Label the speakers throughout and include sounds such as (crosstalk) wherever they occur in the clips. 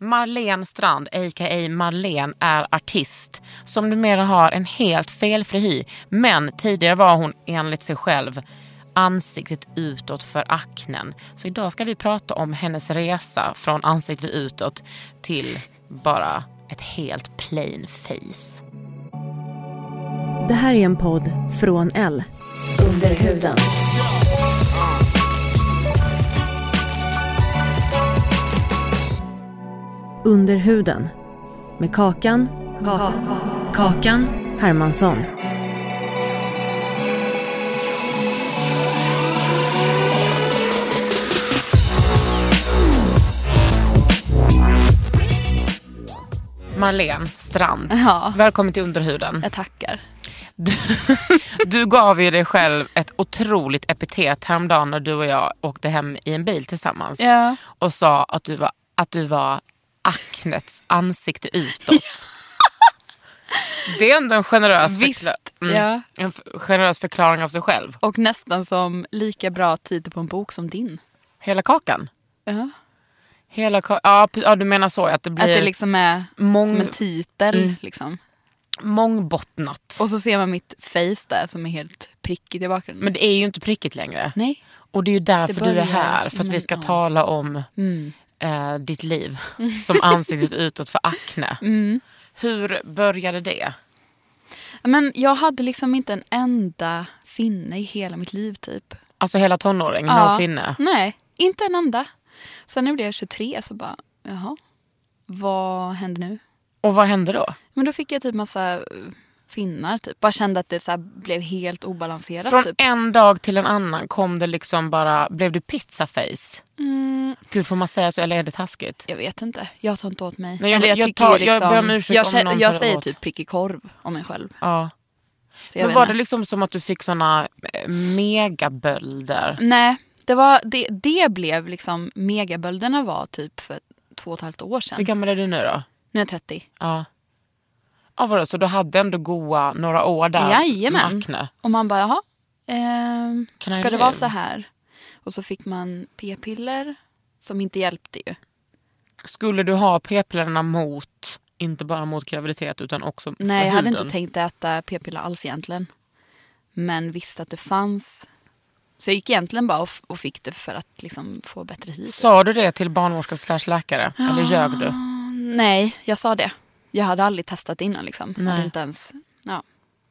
Speaker 1: Marlene Strand, a.k.a. Marlene, är artist som numera har en helt felfri hy. Men tidigare var hon enligt sig själv ansiktet utåt för aknen. Så idag ska vi prata om hennes resa från ansiktet utåt till bara ett helt plain face.
Speaker 2: Det här är en podd från L.
Speaker 3: Under huden.
Speaker 2: Under huden. Med Kakan. Ka- kakan Hermansson.
Speaker 1: Marlene Strand,
Speaker 4: Ja.
Speaker 1: välkommen till Underhuden.
Speaker 4: Jag tackar.
Speaker 1: Du, du gav ju dig själv ett otroligt epitet häromdagen när du och jag åkte hem i en bil tillsammans.
Speaker 4: Ja.
Speaker 1: Och sa att du var, att du var aknets ansikte utåt. Det är ändå en generös,
Speaker 4: Visst,
Speaker 1: mm,
Speaker 4: ja.
Speaker 1: en f- generös förklaring av sig själv.
Speaker 4: Och nästan som lika bra titel på en bok som din.
Speaker 1: Hela kakan.
Speaker 4: Ja.
Speaker 1: Hela ka- ja, p- ja, du menar så ja, att det blir
Speaker 4: Att det liksom är
Speaker 1: mång-
Speaker 4: som en titel. Liksom.
Speaker 1: mångbottnat.
Speaker 4: Och så ser man mitt face där som är helt prickigt i bakgrunden.
Speaker 1: Men det är ju inte prickigt längre.
Speaker 4: Nej.
Speaker 1: Och det är ju därför
Speaker 4: Det
Speaker 1: du är
Speaker 4: börjar Mm.
Speaker 1: här. För att vi
Speaker 4: men,
Speaker 1: ska
Speaker 4: ja.
Speaker 1: tala om
Speaker 4: Mm.
Speaker 1: eh, ditt liv som ansiktet utåt för
Speaker 4: (laughs)
Speaker 1: akne.
Speaker 4: Mm.
Speaker 1: Hur började det?
Speaker 4: Men jag hade liksom inte en enda finne i hela mitt liv typ.
Speaker 1: Alltså hela tonåring,
Speaker 4: Ja.
Speaker 1: no finne.
Speaker 4: Nej, inte en enda. Sen när jag blev 23 så bara, jaha, vad händer nu?
Speaker 1: Och vad hände då?
Speaker 4: Men då fick jag typ massa eh, finnar typ. Bara kände att det så här blev helt obalanserat.
Speaker 1: Från
Speaker 4: typ.
Speaker 1: en dag till en annan kom det liksom bara, blev du pizzaface?
Speaker 4: Mm,
Speaker 1: Gud får man säga så eller är det taskigt?
Speaker 4: jag vet inte. Jag tar inte åt mig.
Speaker 1: Nej, jag-
Speaker 4: Eller
Speaker 1: jag
Speaker 4: tycker
Speaker 1: tar-
Speaker 4: ju liksom-
Speaker 1: jag ber om ursäkt
Speaker 4: jag,
Speaker 1: om
Speaker 4: kä-
Speaker 1: någon tar
Speaker 4: jag
Speaker 1: det
Speaker 4: säger
Speaker 1: åt.
Speaker 4: typ prickig korv om mig själv.
Speaker 1: Ja.
Speaker 4: Så jag
Speaker 1: Men
Speaker 4: vet
Speaker 1: var
Speaker 4: inte.
Speaker 1: det liksom som att du fick såna eh, megabölder?
Speaker 4: Nej, det, var, det, det blev liksom megabölderna var typ för två och ett halvt år sedan.
Speaker 1: Hur gammal är du nu då?
Speaker 4: Nu är jag 30.
Speaker 1: Ja. Ja, vadå, så du hade ändå goa några år där
Speaker 4: Jajamän.
Speaker 1: med akne?
Speaker 4: Och man bara, jaha, ehm,
Speaker 1: Kan
Speaker 4: ska
Speaker 1: jag
Speaker 4: det vara
Speaker 1: leva?
Speaker 4: så här? Och så fick man p-piller som inte hjälpte ju.
Speaker 1: Skulle du ha p-pillerna mot, inte bara mot graviditet utan också
Speaker 4: Nej,
Speaker 1: för
Speaker 4: jag hade
Speaker 1: huden?
Speaker 4: inte tänkt äta p-piller alls egentligen. Men visste att det fanns. Så jag gick egentligen bara och, f- och fick det för att liksom få bättre hy. typ.
Speaker 1: Sa du det till barnmorska slash läkare?
Speaker 4: Ah.
Speaker 1: Eller ljög du?
Speaker 4: Nej, jag sa det. Jag hade aldrig testat det innan. Liksom. Jag
Speaker 1: Nej.
Speaker 4: Hade inte ens, ja.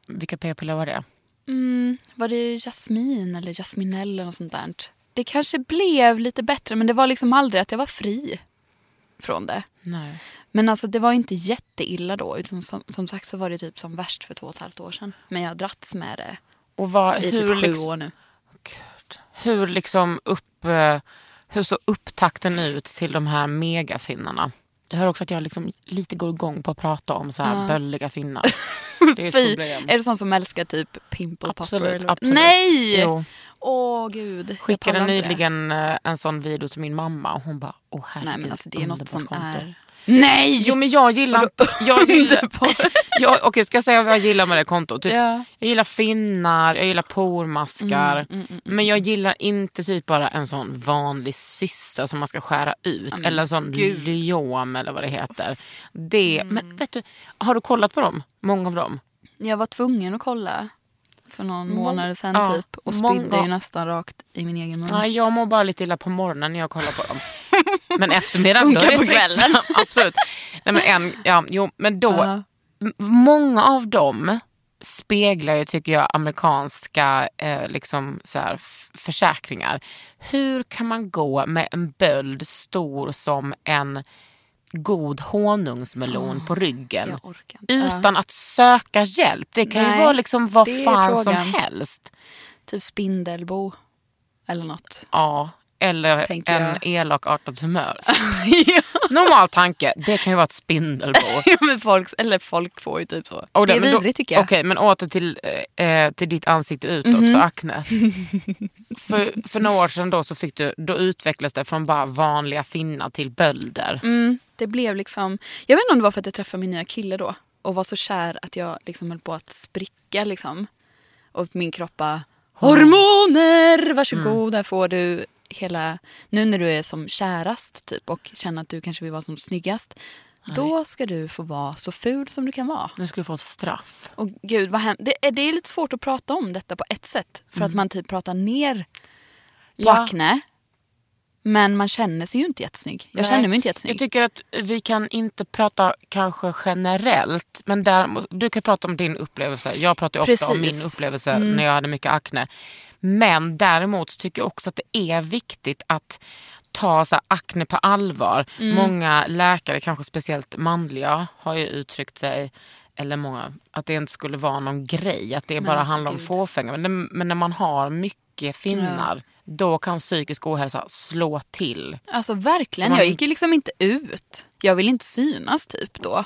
Speaker 1: Vilka p-piller var det?
Speaker 4: mm, var det Jasmin eller Jasminell eller något sånt där? Det kanske blev lite bättre men det var liksom aldrig att jag var fri från det.
Speaker 1: Nej.
Speaker 4: Men alltså det var ju inte jätteilla då. Utan som, som sagt så var det typ som värst för två och ett halvt år sedan. Men jag har dratts med det
Speaker 1: Och vad, hur,
Speaker 4: i typ sju
Speaker 1: liksom,
Speaker 4: år nu.
Speaker 1: Gud. hur liksom upp... eh, Hur såg upptakten ut till de här megafinnarna? Jag hör också att jag liksom lite går igång på att prata om så här bölliga
Speaker 4: (laughs)
Speaker 1: finnar. Det är ett
Speaker 4: Fy,
Speaker 1: problem.
Speaker 4: är det sån som älskar typ pimple popper?
Speaker 1: Absolut,
Speaker 4: eller vad-
Speaker 1: absolut.
Speaker 4: Nej!
Speaker 1: Jo.
Speaker 4: Åh gud. jag
Speaker 1: Skickade
Speaker 4: pallar inte det.
Speaker 1: nyligen eh, en sån video till min mamma och hon bara, åh herregud.
Speaker 4: Nej men alltså det är något
Speaker 1: underbart
Speaker 4: som
Speaker 1: konto."
Speaker 4: är... Nej!
Speaker 1: Jo men jag gillar inte...
Speaker 4: (laughs)
Speaker 1: Jag gillar, (laughs) jag, okej, ska jag säga vad jag gillar med det kontot? Typ,
Speaker 4: Ja. Mm,
Speaker 1: Jag gillar finnar, jag gillar pormaskar. men jag gillar inte typ bara en sån vanlig cysta som man ska skära ut. eller en sån lyom eller vad det heter. Det,
Speaker 4: Mm.
Speaker 1: Men vet du, har du kollat på dem? Många av dem?
Speaker 4: Jag var tvungen att kolla för någon månad sedan
Speaker 1: ja,
Speaker 4: typ. Och
Speaker 1: många-
Speaker 4: spydde ju nästan rakt i min egen mun.
Speaker 1: Nej, jag mår bara lite illa på morgonen när jag kollar på dem. Men eftermiddagen, då
Speaker 4: Funkar
Speaker 1: är det
Speaker 4: på
Speaker 1: fritt
Speaker 4: kvällen.
Speaker 1: fram. Absolut. Nej, men en, ja, jo, men då,
Speaker 4: Ja.
Speaker 1: m- många av dem speglar ju, tycker jag, amerikanska eh, liksom, så här, f- försäkringar. Hur kan man gå med en böld stor som en god honungsmelon på ryggen?
Speaker 4: Jag orkar inte. Ja.
Speaker 1: Utan att söka hjälp. Det kan
Speaker 4: Nej,
Speaker 1: ju vara liksom vad
Speaker 4: det är
Speaker 1: fan som
Speaker 4: frågan.
Speaker 1: helst.
Speaker 4: Typ spindelbo. Eller något.
Speaker 1: Ja, eller
Speaker 4: Tänker
Speaker 1: en
Speaker 4: jag.
Speaker 1: elakartad tumör. Normal tanke, det kan ju vara ett spindelbo.
Speaker 4: (laughs) (laughs) Ja, men folk, eller folk får ju typ så.
Speaker 1: Och
Speaker 4: det är
Speaker 1: men då-
Speaker 4: vidrigt tycker jag. Mhm.
Speaker 1: Okej, men åter till, eh, till ditt ansikte utåt för
Speaker 4: (laughs)
Speaker 1: akne. för, för några år sedan då, så fick du, då utvecklades det från bara vanliga finnar till bölder.
Speaker 4: Mm, det blev liksom... Jag vet inte om det var för att jag träffade min nya kille då och var så kär att jag liksom höll på att spricka. Liksom. Och min kropp bara... Hormoner!
Speaker 1: Mm.
Speaker 4: Varsågod, här får du hela... Nu när du är som kärast typ och känner att du kanske vill vara som snyggast. Då ska du få vara så ful som du kan vara.
Speaker 1: Nu skulle du få ett straff.
Speaker 4: Och gud, vad hem- det, är, det är lite svårt att prata om detta på ett sätt. För att man typ pratar ner på
Speaker 1: Mm. Ja.
Speaker 4: akne. Men man känner sig ju inte jättesnygg. Jag
Speaker 1: Nej.
Speaker 4: känner mig inte
Speaker 1: Jag
Speaker 4: jättesnygg.
Speaker 1: tycker att vi kan inte prata kanske generellt, men däremot, du kan prata om din upplevelse. Jag pratar ju ofta om
Speaker 4: Precis.
Speaker 1: min upplevelse när jag hade mycket akne. Men däremot så tycker jag också att det är viktigt att ta så här, akne på allvar. Många läkare, kanske speciellt manliga, har ju uttryckt sig eller många, att det inte skulle vara någon grej, att det bara
Speaker 4: alltså,
Speaker 1: handlar om
Speaker 4: gud.
Speaker 1: fåfänga. Men, när- men när man har mycket finnar, då kan psykisk ohälsa slå till.
Speaker 4: Alltså
Speaker 1: Så
Speaker 4: verkligen.
Speaker 1: man-
Speaker 4: Jag gick ju liksom inte ut. Jag vill inte synas typ då.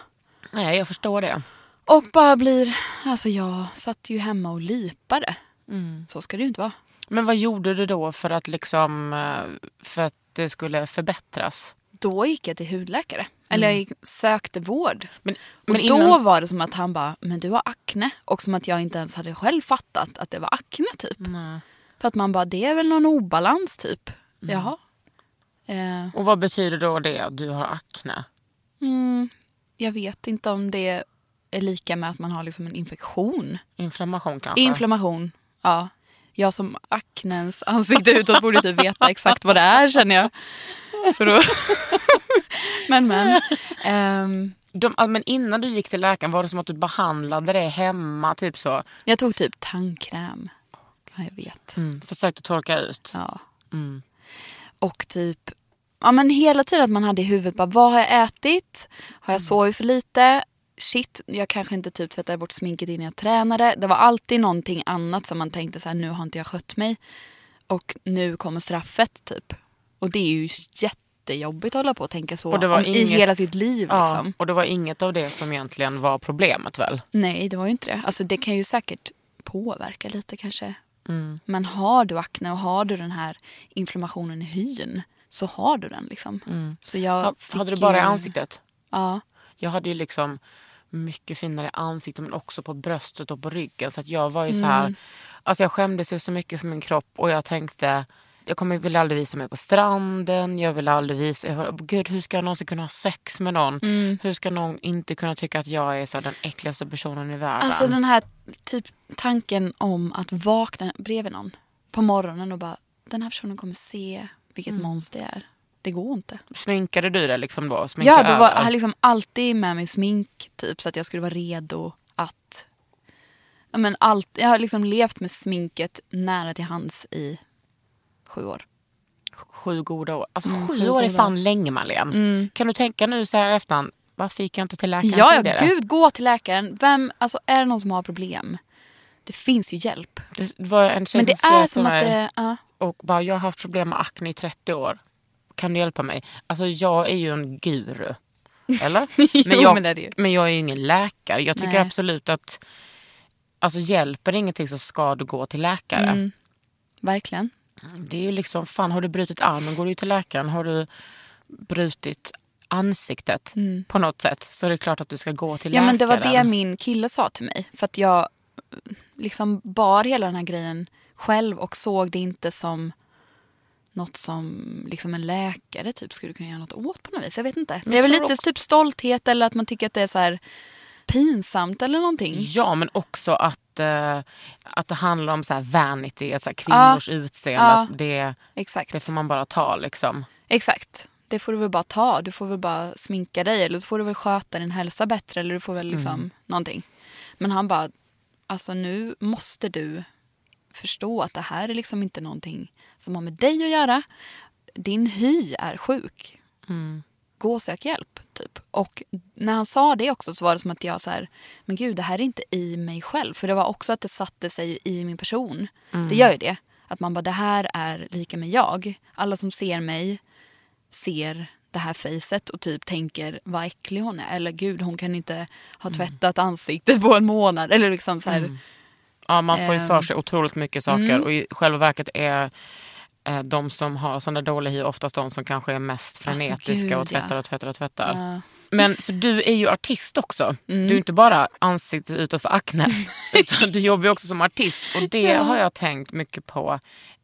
Speaker 1: Nej, jag förstår det.
Speaker 4: Och bara blir... Alltså jag satt ju hemma och lipade.
Speaker 1: Mm.
Speaker 4: Så ska det ju inte vara.
Speaker 1: Men vad gjorde du då för att, liksom, eh, för att det skulle förbättras?
Speaker 4: Då gick jag till hudläkare. Eller jag gick, sökte vård.
Speaker 1: Mm. Men,
Speaker 4: Och
Speaker 1: men
Speaker 4: då
Speaker 1: innan,
Speaker 4: var det som att han bara, men du har akne. Och som att jag inte ens hade själv fattat att det var akne typ.
Speaker 1: Nej. Mm.
Speaker 4: För att man bara, det är väl någon obalans typ. Jaha. Eh,
Speaker 1: och vad betyder då det att du har akne?
Speaker 4: mm, jag vet inte om det är lika med att man har liksom en infektion.
Speaker 1: Inflammation kanske?
Speaker 4: Inflammation, ja. Jag som aknens ansikte utåt borde typ veta exakt vad det är känner jag. För att... (laughs) men men. Ehm,
Speaker 1: De, ja, men innan du gick till läkaren, var det som att du behandlade det hemma? Typ så.
Speaker 4: jag tog typ tandkräm. Ja, jag vet.
Speaker 1: Mm, försökte torka ut?
Speaker 4: Ja.
Speaker 1: Mm.
Speaker 4: Och typ, ja men hela tiden att man hade i huvudet bara vad har jag ätit? Har
Speaker 1: Mm.
Speaker 4: jag sovit för lite? Shit, jag kanske inte typ tvättade bort sminket innan jag tränade. Det var alltid någonting annat som man tänkte så här nu har inte jag skött mig. Och nu kommer straffet typ. Och det är ju jättejobbigt att hålla på och tänka så
Speaker 1: Och det var
Speaker 4: om, i
Speaker 1: inget-
Speaker 4: hela sitt liv.
Speaker 1: Ja,
Speaker 4: Liksom.
Speaker 1: och det var inget av det som egentligen var problemet väl?
Speaker 4: Nej, det var ju inte det. Alltså det kan ju säkert påverka lite kanske.
Speaker 1: Mm.
Speaker 4: Men har du akne och har du den här inflammationen i hyn så har du den liksom. Så jag
Speaker 1: Mm. Ha,
Speaker 4: fick
Speaker 1: hade du bara i
Speaker 4: ju-
Speaker 1: ansiktet?
Speaker 4: Ja.
Speaker 1: Jag hade ju liksom mycket finare ansikte men också på bröstet och på ryggen. Så att jag var ju så
Speaker 4: Mm.
Speaker 1: här, alltså jag skämdes ju så mycket för min kropp och jag tänkte jag kommer vill aldrig visa mig på stranden, jag vill aldrig visa... Jag, bara, Gud, hur ska jag någonsin kunna ha sex med någon?
Speaker 4: Mm.
Speaker 1: Hur ska någon inte kunna tycka att jag är så här, den äckligaste personen i världen?
Speaker 4: Alltså den här typ tanken om att vakna bredvid någon på morgonen och bara den här personen kommer se vilket
Speaker 1: Mm.
Speaker 4: monster jag är. Det går inte.
Speaker 1: Sminkade du dig liksom då? Sminkade
Speaker 4: Ja, då var
Speaker 1: över?
Speaker 4: jag hade liksom alltid med mig smink typ så att jag skulle vara redo att ja, men allt, jag har liksom levt med sminket nära till hands i sju år.
Speaker 1: Sju goda år. Alltså
Speaker 4: Mm,
Speaker 1: sju
Speaker 4: sju
Speaker 1: år är
Speaker 4: goda Mm.
Speaker 1: fan länge Marlene. Kan du tänka nu så här i efterhand, varför gick jag inte till läkaren
Speaker 4: Ja, ja,
Speaker 1: tidigare?
Speaker 4: gud, gå till läkaren. Vem, alltså, är det någon som har problem? Det finns ju hjälp.
Speaker 1: Det var en tjej
Speaker 4: Men det
Speaker 1: skrev
Speaker 4: är
Speaker 1: till
Speaker 4: som att
Speaker 1: mig-
Speaker 4: det... ja.
Speaker 1: och bara jag har haft problem med akne i 30 år. Kan du hjälpa mig? Alltså jag är ju en
Speaker 4: (laughs)
Speaker 1: guru. Eller?
Speaker 4: Jo,
Speaker 1: jag,
Speaker 4: men det är det ju.
Speaker 1: men jag är ju ingen läkare. Jag tycker
Speaker 4: Nej.
Speaker 1: absolut att alltså, hjälper det ingenting så ska du gå till läkare.
Speaker 4: Mm. Verkligen.
Speaker 1: Det är ju liksom, fan har du brutit armen går du ju till läkaren. Har du brutit ansiktet på något sätt så är det klart att du ska gå till
Speaker 4: Mm. Ja,
Speaker 1: läkaren.
Speaker 4: men det var det min kille sa till mig. För att jag eh, liksom bar hela den här grejen själv och såg det inte som något som liksom en läkare typ skulle kunna göra något åt på något vis. Jag vet inte. Det är väl
Speaker 1: tror
Speaker 4: lite
Speaker 1: också-
Speaker 4: typ stolthet eller att man tycker att det är så här pinsamt eller någonting.
Speaker 1: Ja, men också att, eh, att det handlar om så här vanity, att så här kvinnors utseende.
Speaker 4: Ja.
Speaker 1: Att det,
Speaker 4: Exakt.
Speaker 1: det får man bara ta liksom.
Speaker 4: Exakt. det får du väl bara ta. Du får väl bara sminka dig eller så får du väl sköta din hälsa bättre eller du får väl liksom någonting. Men han bara, alltså nu måste du förstå att det här är liksom inte någonting som har med dig att göra. Din hy är sjuk. Gå och sök hjälp. Typ. Och när han sa det också så var det som att jag så här, men gud det här är inte i mig själv. För det var också att det satte sig i min person. Det gör ju det. Att man bara, det här är lika med jag. Alla som ser mig ser det här facet och typ tänker vad äcklig hon är. Eller gud hon kan inte ha tvättat ansiktet på en månad. Eller liksom så här.
Speaker 1: Ja, man får ju för
Speaker 4: Ehm. Mm.
Speaker 1: sig otroligt mycket saker och i själva verket är eh, de som har sån där dålig hy oftast de som kanske är mest
Speaker 4: Alltså,
Speaker 1: frenetiska
Speaker 4: gud,
Speaker 1: och tvättar
Speaker 4: ja.
Speaker 1: och tvättar och tvättar.
Speaker 4: Ja. Mm.
Speaker 1: Men för du är ju artist också. Du är inte bara ansiktet utåt för
Speaker 4: (laughs)
Speaker 1: akne. (laughs) utan du jobbar ju också som artist. Och det
Speaker 4: Ja.
Speaker 1: har jag tänkt mycket på.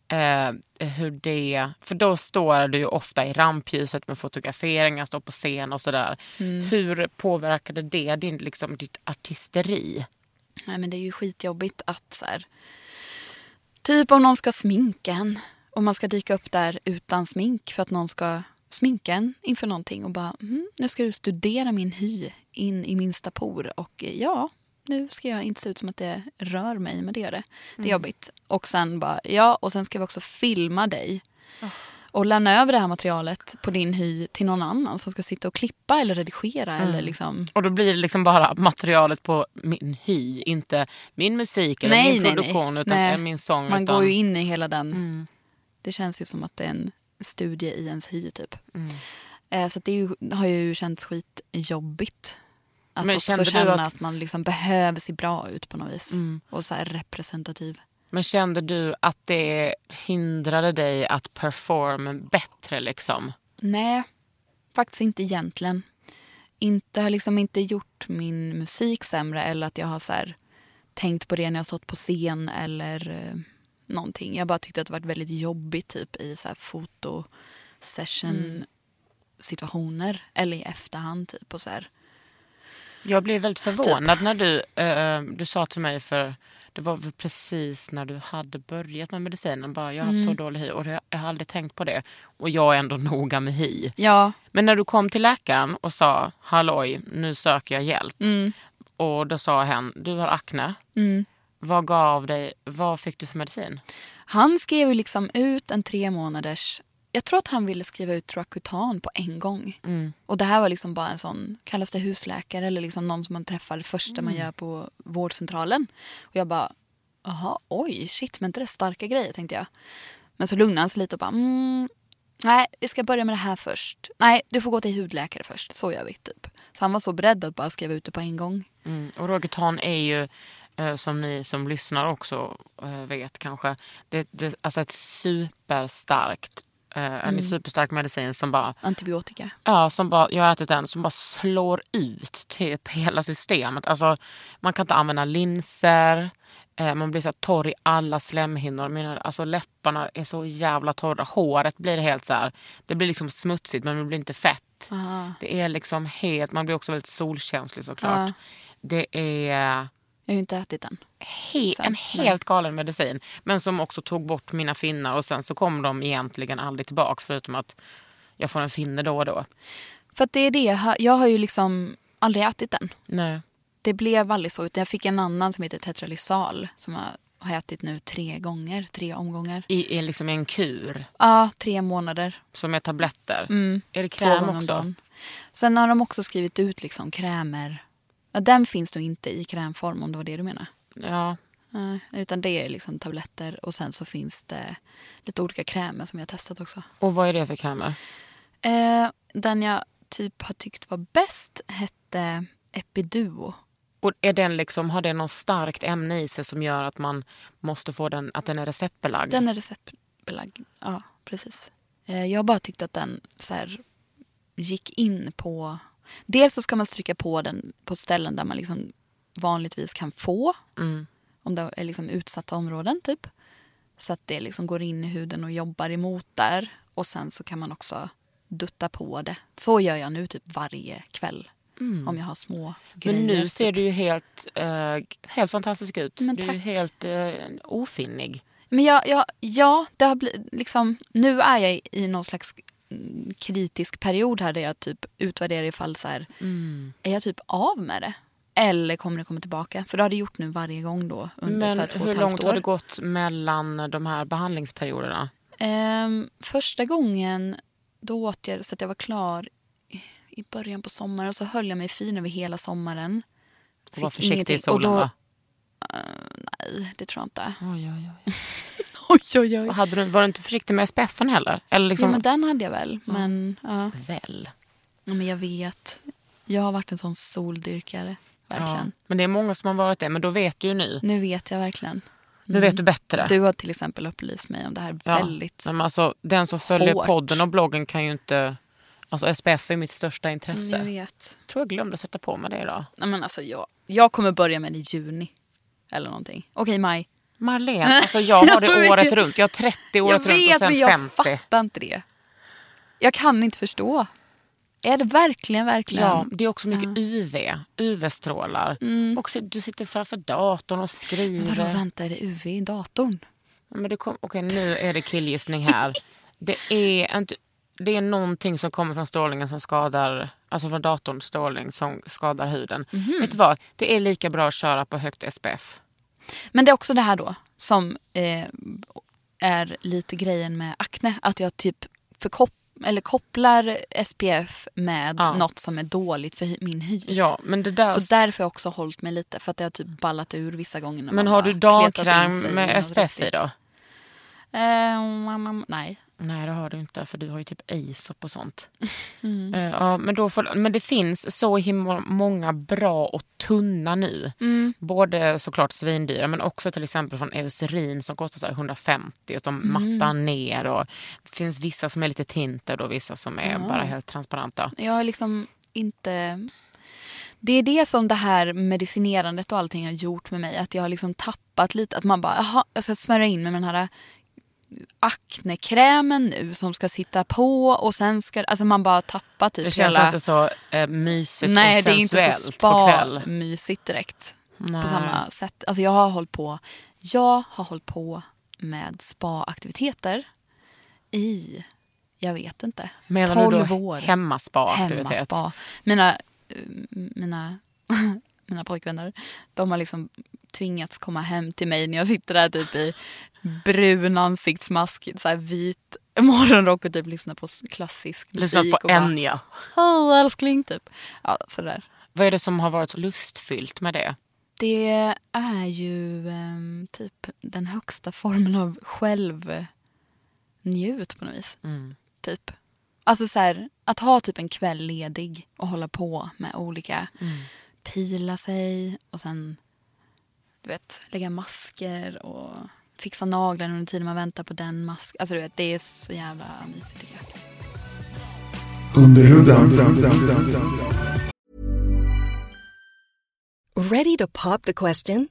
Speaker 1: Eh, hur det, för då står du ju ofta i rampljuset med fotograferingar, står på scen och sådär.
Speaker 4: Mm.
Speaker 1: Hur påverkade det din, liksom, ditt artisteri?
Speaker 4: Nej men det är ju skitjobbigt att så här. Typ om någon ska sminka en. Och man ska dyka upp där utan smink för att någon ska sminka en inför någonting. Och bara, "Mhm, nu ska du studera min hy in i minsta por. Och eh, ja, nu ska jag inte se ut som att det rör mig, men det gör det. Det är jobbigt. Och sen bara, ja, och sen ska vi också filma dig. Och lämna över det här materialet på din hy till någon annan som ska sitta och klippa eller redigera. Eller liksom.
Speaker 1: Och då blir det liksom bara materialet på min hy, inte min musik eller min produktion utan eh,
Speaker 4: Nej.
Speaker 1: min sång.
Speaker 4: Man
Speaker 1: utan,
Speaker 4: går ju in i hela den.
Speaker 1: Mm.
Speaker 4: Det känns ju som att det är en studie i ens hy typ.
Speaker 1: Mm.
Speaker 4: Eh, så att det är ju, har ju känts skitjobbigt. Att
Speaker 1: Men kände
Speaker 4: också
Speaker 1: du
Speaker 4: känna
Speaker 1: att- Mm.
Speaker 4: att... man liksom behöver se bra ut på något vis. Och så här representativ.
Speaker 1: Men kände du att det hindrade dig att performa bättre? liksom?
Speaker 4: Nej, faktiskt inte egentligen. Inte har liksom inte gjort min musik sämre eller att jag har så här, tänkt på det när jag stått på scen eller eh, någonting. Jag bara tyckte att det varit väldigt jobbigt typ i så här fotosession situationer eller i efterhand typ och så här.
Speaker 1: Jag blev väldigt förvånad när du, eh, du sa till mig för det var väl precis när du hade börjat med medicinen. Bara, jag har haft så dålig hy och jag, jag har aldrig tänkt på det. Och jag är ändå (laughs) noga med hy.
Speaker 4: Ja,
Speaker 1: Men när du kom till läkaren och sa halloj, nu söker jag hjälp. Och då sa hen, du har akne. Vad gav dig, vad fick du för medicin?
Speaker 4: han skrev ju liksom ut en tre månaders jag tror att han ville skriva ut Roacutan på en gång. Och det här var liksom bara en sån, kallas det husläkare eller liksom någon som man träffar det första man gör på vårdcentralen. Och jag bara, jaha, oj, shit, men inte det är starka grejer tänkte jag. Men så lugnade han sig lite och bara, mm, nej, vi ska börja med det här först. Nej, du får gå till hudläkare först, så gör vi typ. Så han var så beredd att bara skriva ut det på en gång.
Speaker 1: Mm. Och Roacutan är ju, eh, som ni som lyssnar också eh, vet kanske, det, det, alltså ett superstarkt, eh, en superstark medicin som bara
Speaker 4: Antibiotika.
Speaker 1: Ja, som bara, jag har ätit en som bara slår ut typ hela systemet. Alltså, man kan inte använda linser, eh, man blir så här torr i alla slemhinnor. Mina, alltså, läpparna är så jävla torra, håret blir helt så här, det blir liksom smutsigt men det blir inte fett. Det är liksom helt, man blir också väldigt solkänslig såklart.
Speaker 4: Ja.
Speaker 1: Det är
Speaker 4: Jag har ju inte ätit den.
Speaker 1: he-
Speaker 4: Sant,
Speaker 1: en helt galen medicin. Men som också tog bort mina finnar och sen så kom de egentligen aldrig tillbaks förutom att jag får en finne då och då.
Speaker 4: För att det är det, jag har, jag har ju liksom aldrig ätit den.
Speaker 1: Nej.
Speaker 4: Det blev aldrig så, utan jag fick en annan som heter Tetralysal som jag har ätit nu tre gånger, tre omgångar.
Speaker 1: I, i liksom en kur
Speaker 4: Ja, tre månader.
Speaker 1: som är tabletter. Är det
Speaker 4: Mm. Två
Speaker 1: kräm
Speaker 4: gånger om
Speaker 1: också?
Speaker 4: dagen. Sen har de också skrivit ut liksom krämer. Ja, den finns nog inte i krämform om det var det du menar.
Speaker 1: Ja.
Speaker 4: Nej, utan det är liksom tabletter och sen så finns det lite olika krämer som jag har testat också.
Speaker 1: Och vad är det för krämer?
Speaker 4: Eh, den jag typ har tyckt var bäst hette Epiduo.
Speaker 1: Och är den liksom, har den något starkt ämne i sig som gör att man måste få den, att den är receptbelagd?
Speaker 4: Den är receptbelagd. Ja, precis. Eh, Jag har bara tyckt att den så här, gick in på... Dels så ska man stryka på den på ställen där man liksom vanligtvis kan få.
Speaker 1: Mm.
Speaker 4: Om det är liksom utsatta områden, typ. Så att det liksom går in i huden och jobbar emot där. Och sen så kan man också dutta på det. Så gör jag nu typ varje kväll. Om jag har små grejer.
Speaker 1: Mm.
Speaker 4: typ.
Speaker 1: Men nu ser du ju helt, eh, helt fantastisk ut.
Speaker 4: Men
Speaker 1: du är ju
Speaker 4: tack.
Speaker 1: helt eh, ofinnig.
Speaker 4: Men jag, jag, ja, det har blivit liksom, nu är jag i någon slags mm, kritisk period här där jag typ utvärderar ifall så här,
Speaker 1: Mm.
Speaker 4: är jag typ av med det? Eller kommer det komma tillbaka? För det har det gjort nu varje gång då under så
Speaker 1: Men
Speaker 4: här, två och
Speaker 1: hur
Speaker 4: ett halvt
Speaker 1: långt
Speaker 4: år.
Speaker 1: har det gått mellan de här behandlingsperioderna?
Speaker 4: Ehm, första gången då åt jag så att jag var klar i- i början på sommaren och så höll jag mig fin över hela sommaren.
Speaker 1: Och var
Speaker 4: Fick
Speaker 1: försiktig
Speaker 4: ingenting.
Speaker 1: i solen
Speaker 4: och då,
Speaker 1: va?
Speaker 4: Nej, det tror jag inte.
Speaker 1: Oj, oj, oj.
Speaker 4: (laughs) Oj, oj, oj.
Speaker 1: Och hade du, var du inte försiktig med SPFen heller? Eller
Speaker 4: Jo,
Speaker 1: liksom...
Speaker 4: men den hade jag väl. Men, ja.
Speaker 1: Väl.
Speaker 4: ja, men jag vet. Jag har varit en sån soldyrkare.
Speaker 1: Ja.
Speaker 4: Verkligen. Mm.
Speaker 1: Men det är många som har varit det, men då vet du ju nu.
Speaker 4: Nu vet jag verkligen.
Speaker 1: Nu vet du bättre.
Speaker 4: Du har till exempel upplyst mig om det här
Speaker 1: Ja.
Speaker 4: väldigt...
Speaker 1: Nej, Men alltså, den som följer
Speaker 4: hårt.
Speaker 1: podden och bloggen kan ju inte... Alltså SPF är mitt största intresse.
Speaker 4: Jag
Speaker 1: Jag
Speaker 4: vet.
Speaker 1: tror jag glömde sätta på mig det idag.
Speaker 4: Nej, men alltså, jag, jag kommer börja med det i juni. Eller någonting. Okej, maj.
Speaker 1: Marlene, alltså jag har
Speaker 4: (laughs) Jag
Speaker 1: det
Speaker 4: vet.
Speaker 1: året runt. Jag har 30 året
Speaker 4: jag
Speaker 1: runt och
Speaker 4: vet, men
Speaker 1: sen
Speaker 4: jag
Speaker 1: 50.
Speaker 4: fattar inte det. Jag kan inte förstå. Är det verkligen, verkligen?
Speaker 1: Ja, det är också mycket UV. UV-strålar. Och så, du sitter framför datorn och skriver.
Speaker 4: Mm. Vadå, vänta, är det UV i datorn?
Speaker 1: Men det kom, okej, nu är det killgissning här. Det är, inte, det är någonting som kommer från strålningen som skadar, alltså från datorns strålning som skadar huden.
Speaker 4: Mhm.
Speaker 1: Vet du vad? Det är lika bra att köra på högt SPF.
Speaker 4: Men det är också det här då som eh, är lite grejen med akne. Att jag typ förkop- eller kopplar SPF med
Speaker 1: Ja.
Speaker 4: något som är dåligt för hy- min hy.
Speaker 1: Ja, men det där...
Speaker 4: Så därför har jag också hållit mig lite. För att jag har typ ballat ur vissa gånger. När
Speaker 1: men
Speaker 4: man
Speaker 1: har
Speaker 4: bara
Speaker 1: du
Speaker 4: kletat
Speaker 1: dagkräm
Speaker 4: in sig i
Speaker 1: med
Speaker 4: något
Speaker 1: SPF i
Speaker 4: riktigt.
Speaker 1: då?
Speaker 4: Eh, mm, mm, nej.
Speaker 1: Nej, det har du inte för du har ju typ Aesop och
Speaker 4: (laughs)
Speaker 1: sånt.
Speaker 4: Mm.
Speaker 1: Eh, ja, men, då får, men det finns så himla många bra och tunna nu.
Speaker 4: Mm.
Speaker 1: Både såklart svindyra men också till exempel från Eucerin som kostar så här 150 och som
Speaker 4: Mm.
Speaker 1: mattar ner. Och, det finns vissa som är lite tinted och vissa som är bara helt transparenta.
Speaker 4: Jag har liksom inte... Det är det som det här medicinerandet och allting har gjort med mig. Att jag har liksom tappat lite. Att man bara, jaha, jag ska smörja in mig med den här aknekrämen nu som ska sitta på och sen ska... Alltså man bara tappar typ
Speaker 1: Det känns
Speaker 4: hela...
Speaker 1: inte så eh, mysigt
Speaker 4: Nej,
Speaker 1: och
Speaker 4: det är inte så
Speaker 1: sensuellt på kväll.
Speaker 4: spa-mysigt direkt.
Speaker 1: Nej.
Speaker 4: På samma sätt. Alltså jag har hållit på... Jag har hållit på med spa-aktiviteter i, jag vet inte,
Speaker 1: Menar du
Speaker 4: 12
Speaker 1: då
Speaker 4: år
Speaker 1: hemmaspa-aktivitet?
Speaker 4: hemmaspa. Mina, eh, mina, (laughs) mina pojkvänner de har liksom tvingats komma hem till mig när jag sitter där typ i brun ansiktsmask, så här vit morgonrock och typ lyssnar på s- klassisk musik.
Speaker 1: Lyssnat på
Speaker 4: och bara,
Speaker 1: Enya.
Speaker 4: Hej älskling, typ. Ja, sådär.
Speaker 1: Vad är det som har varit så lustfyllt med det?
Speaker 4: Det är ju ehm, typ den högsta formen av självnjut på något vis.
Speaker 1: Mm.
Speaker 4: Typ. Alltså så här, att ha typ en kväll ledig och hålla på med olika,
Speaker 1: Mm.
Speaker 4: pila sig och sen du vet, lägga masker och fixa naglar under tiden man väntar på den masken. Alltså du vet, det är så jävla mysigt tycker jag.
Speaker 3: Underhudan.
Speaker 5: Ready to pop the question?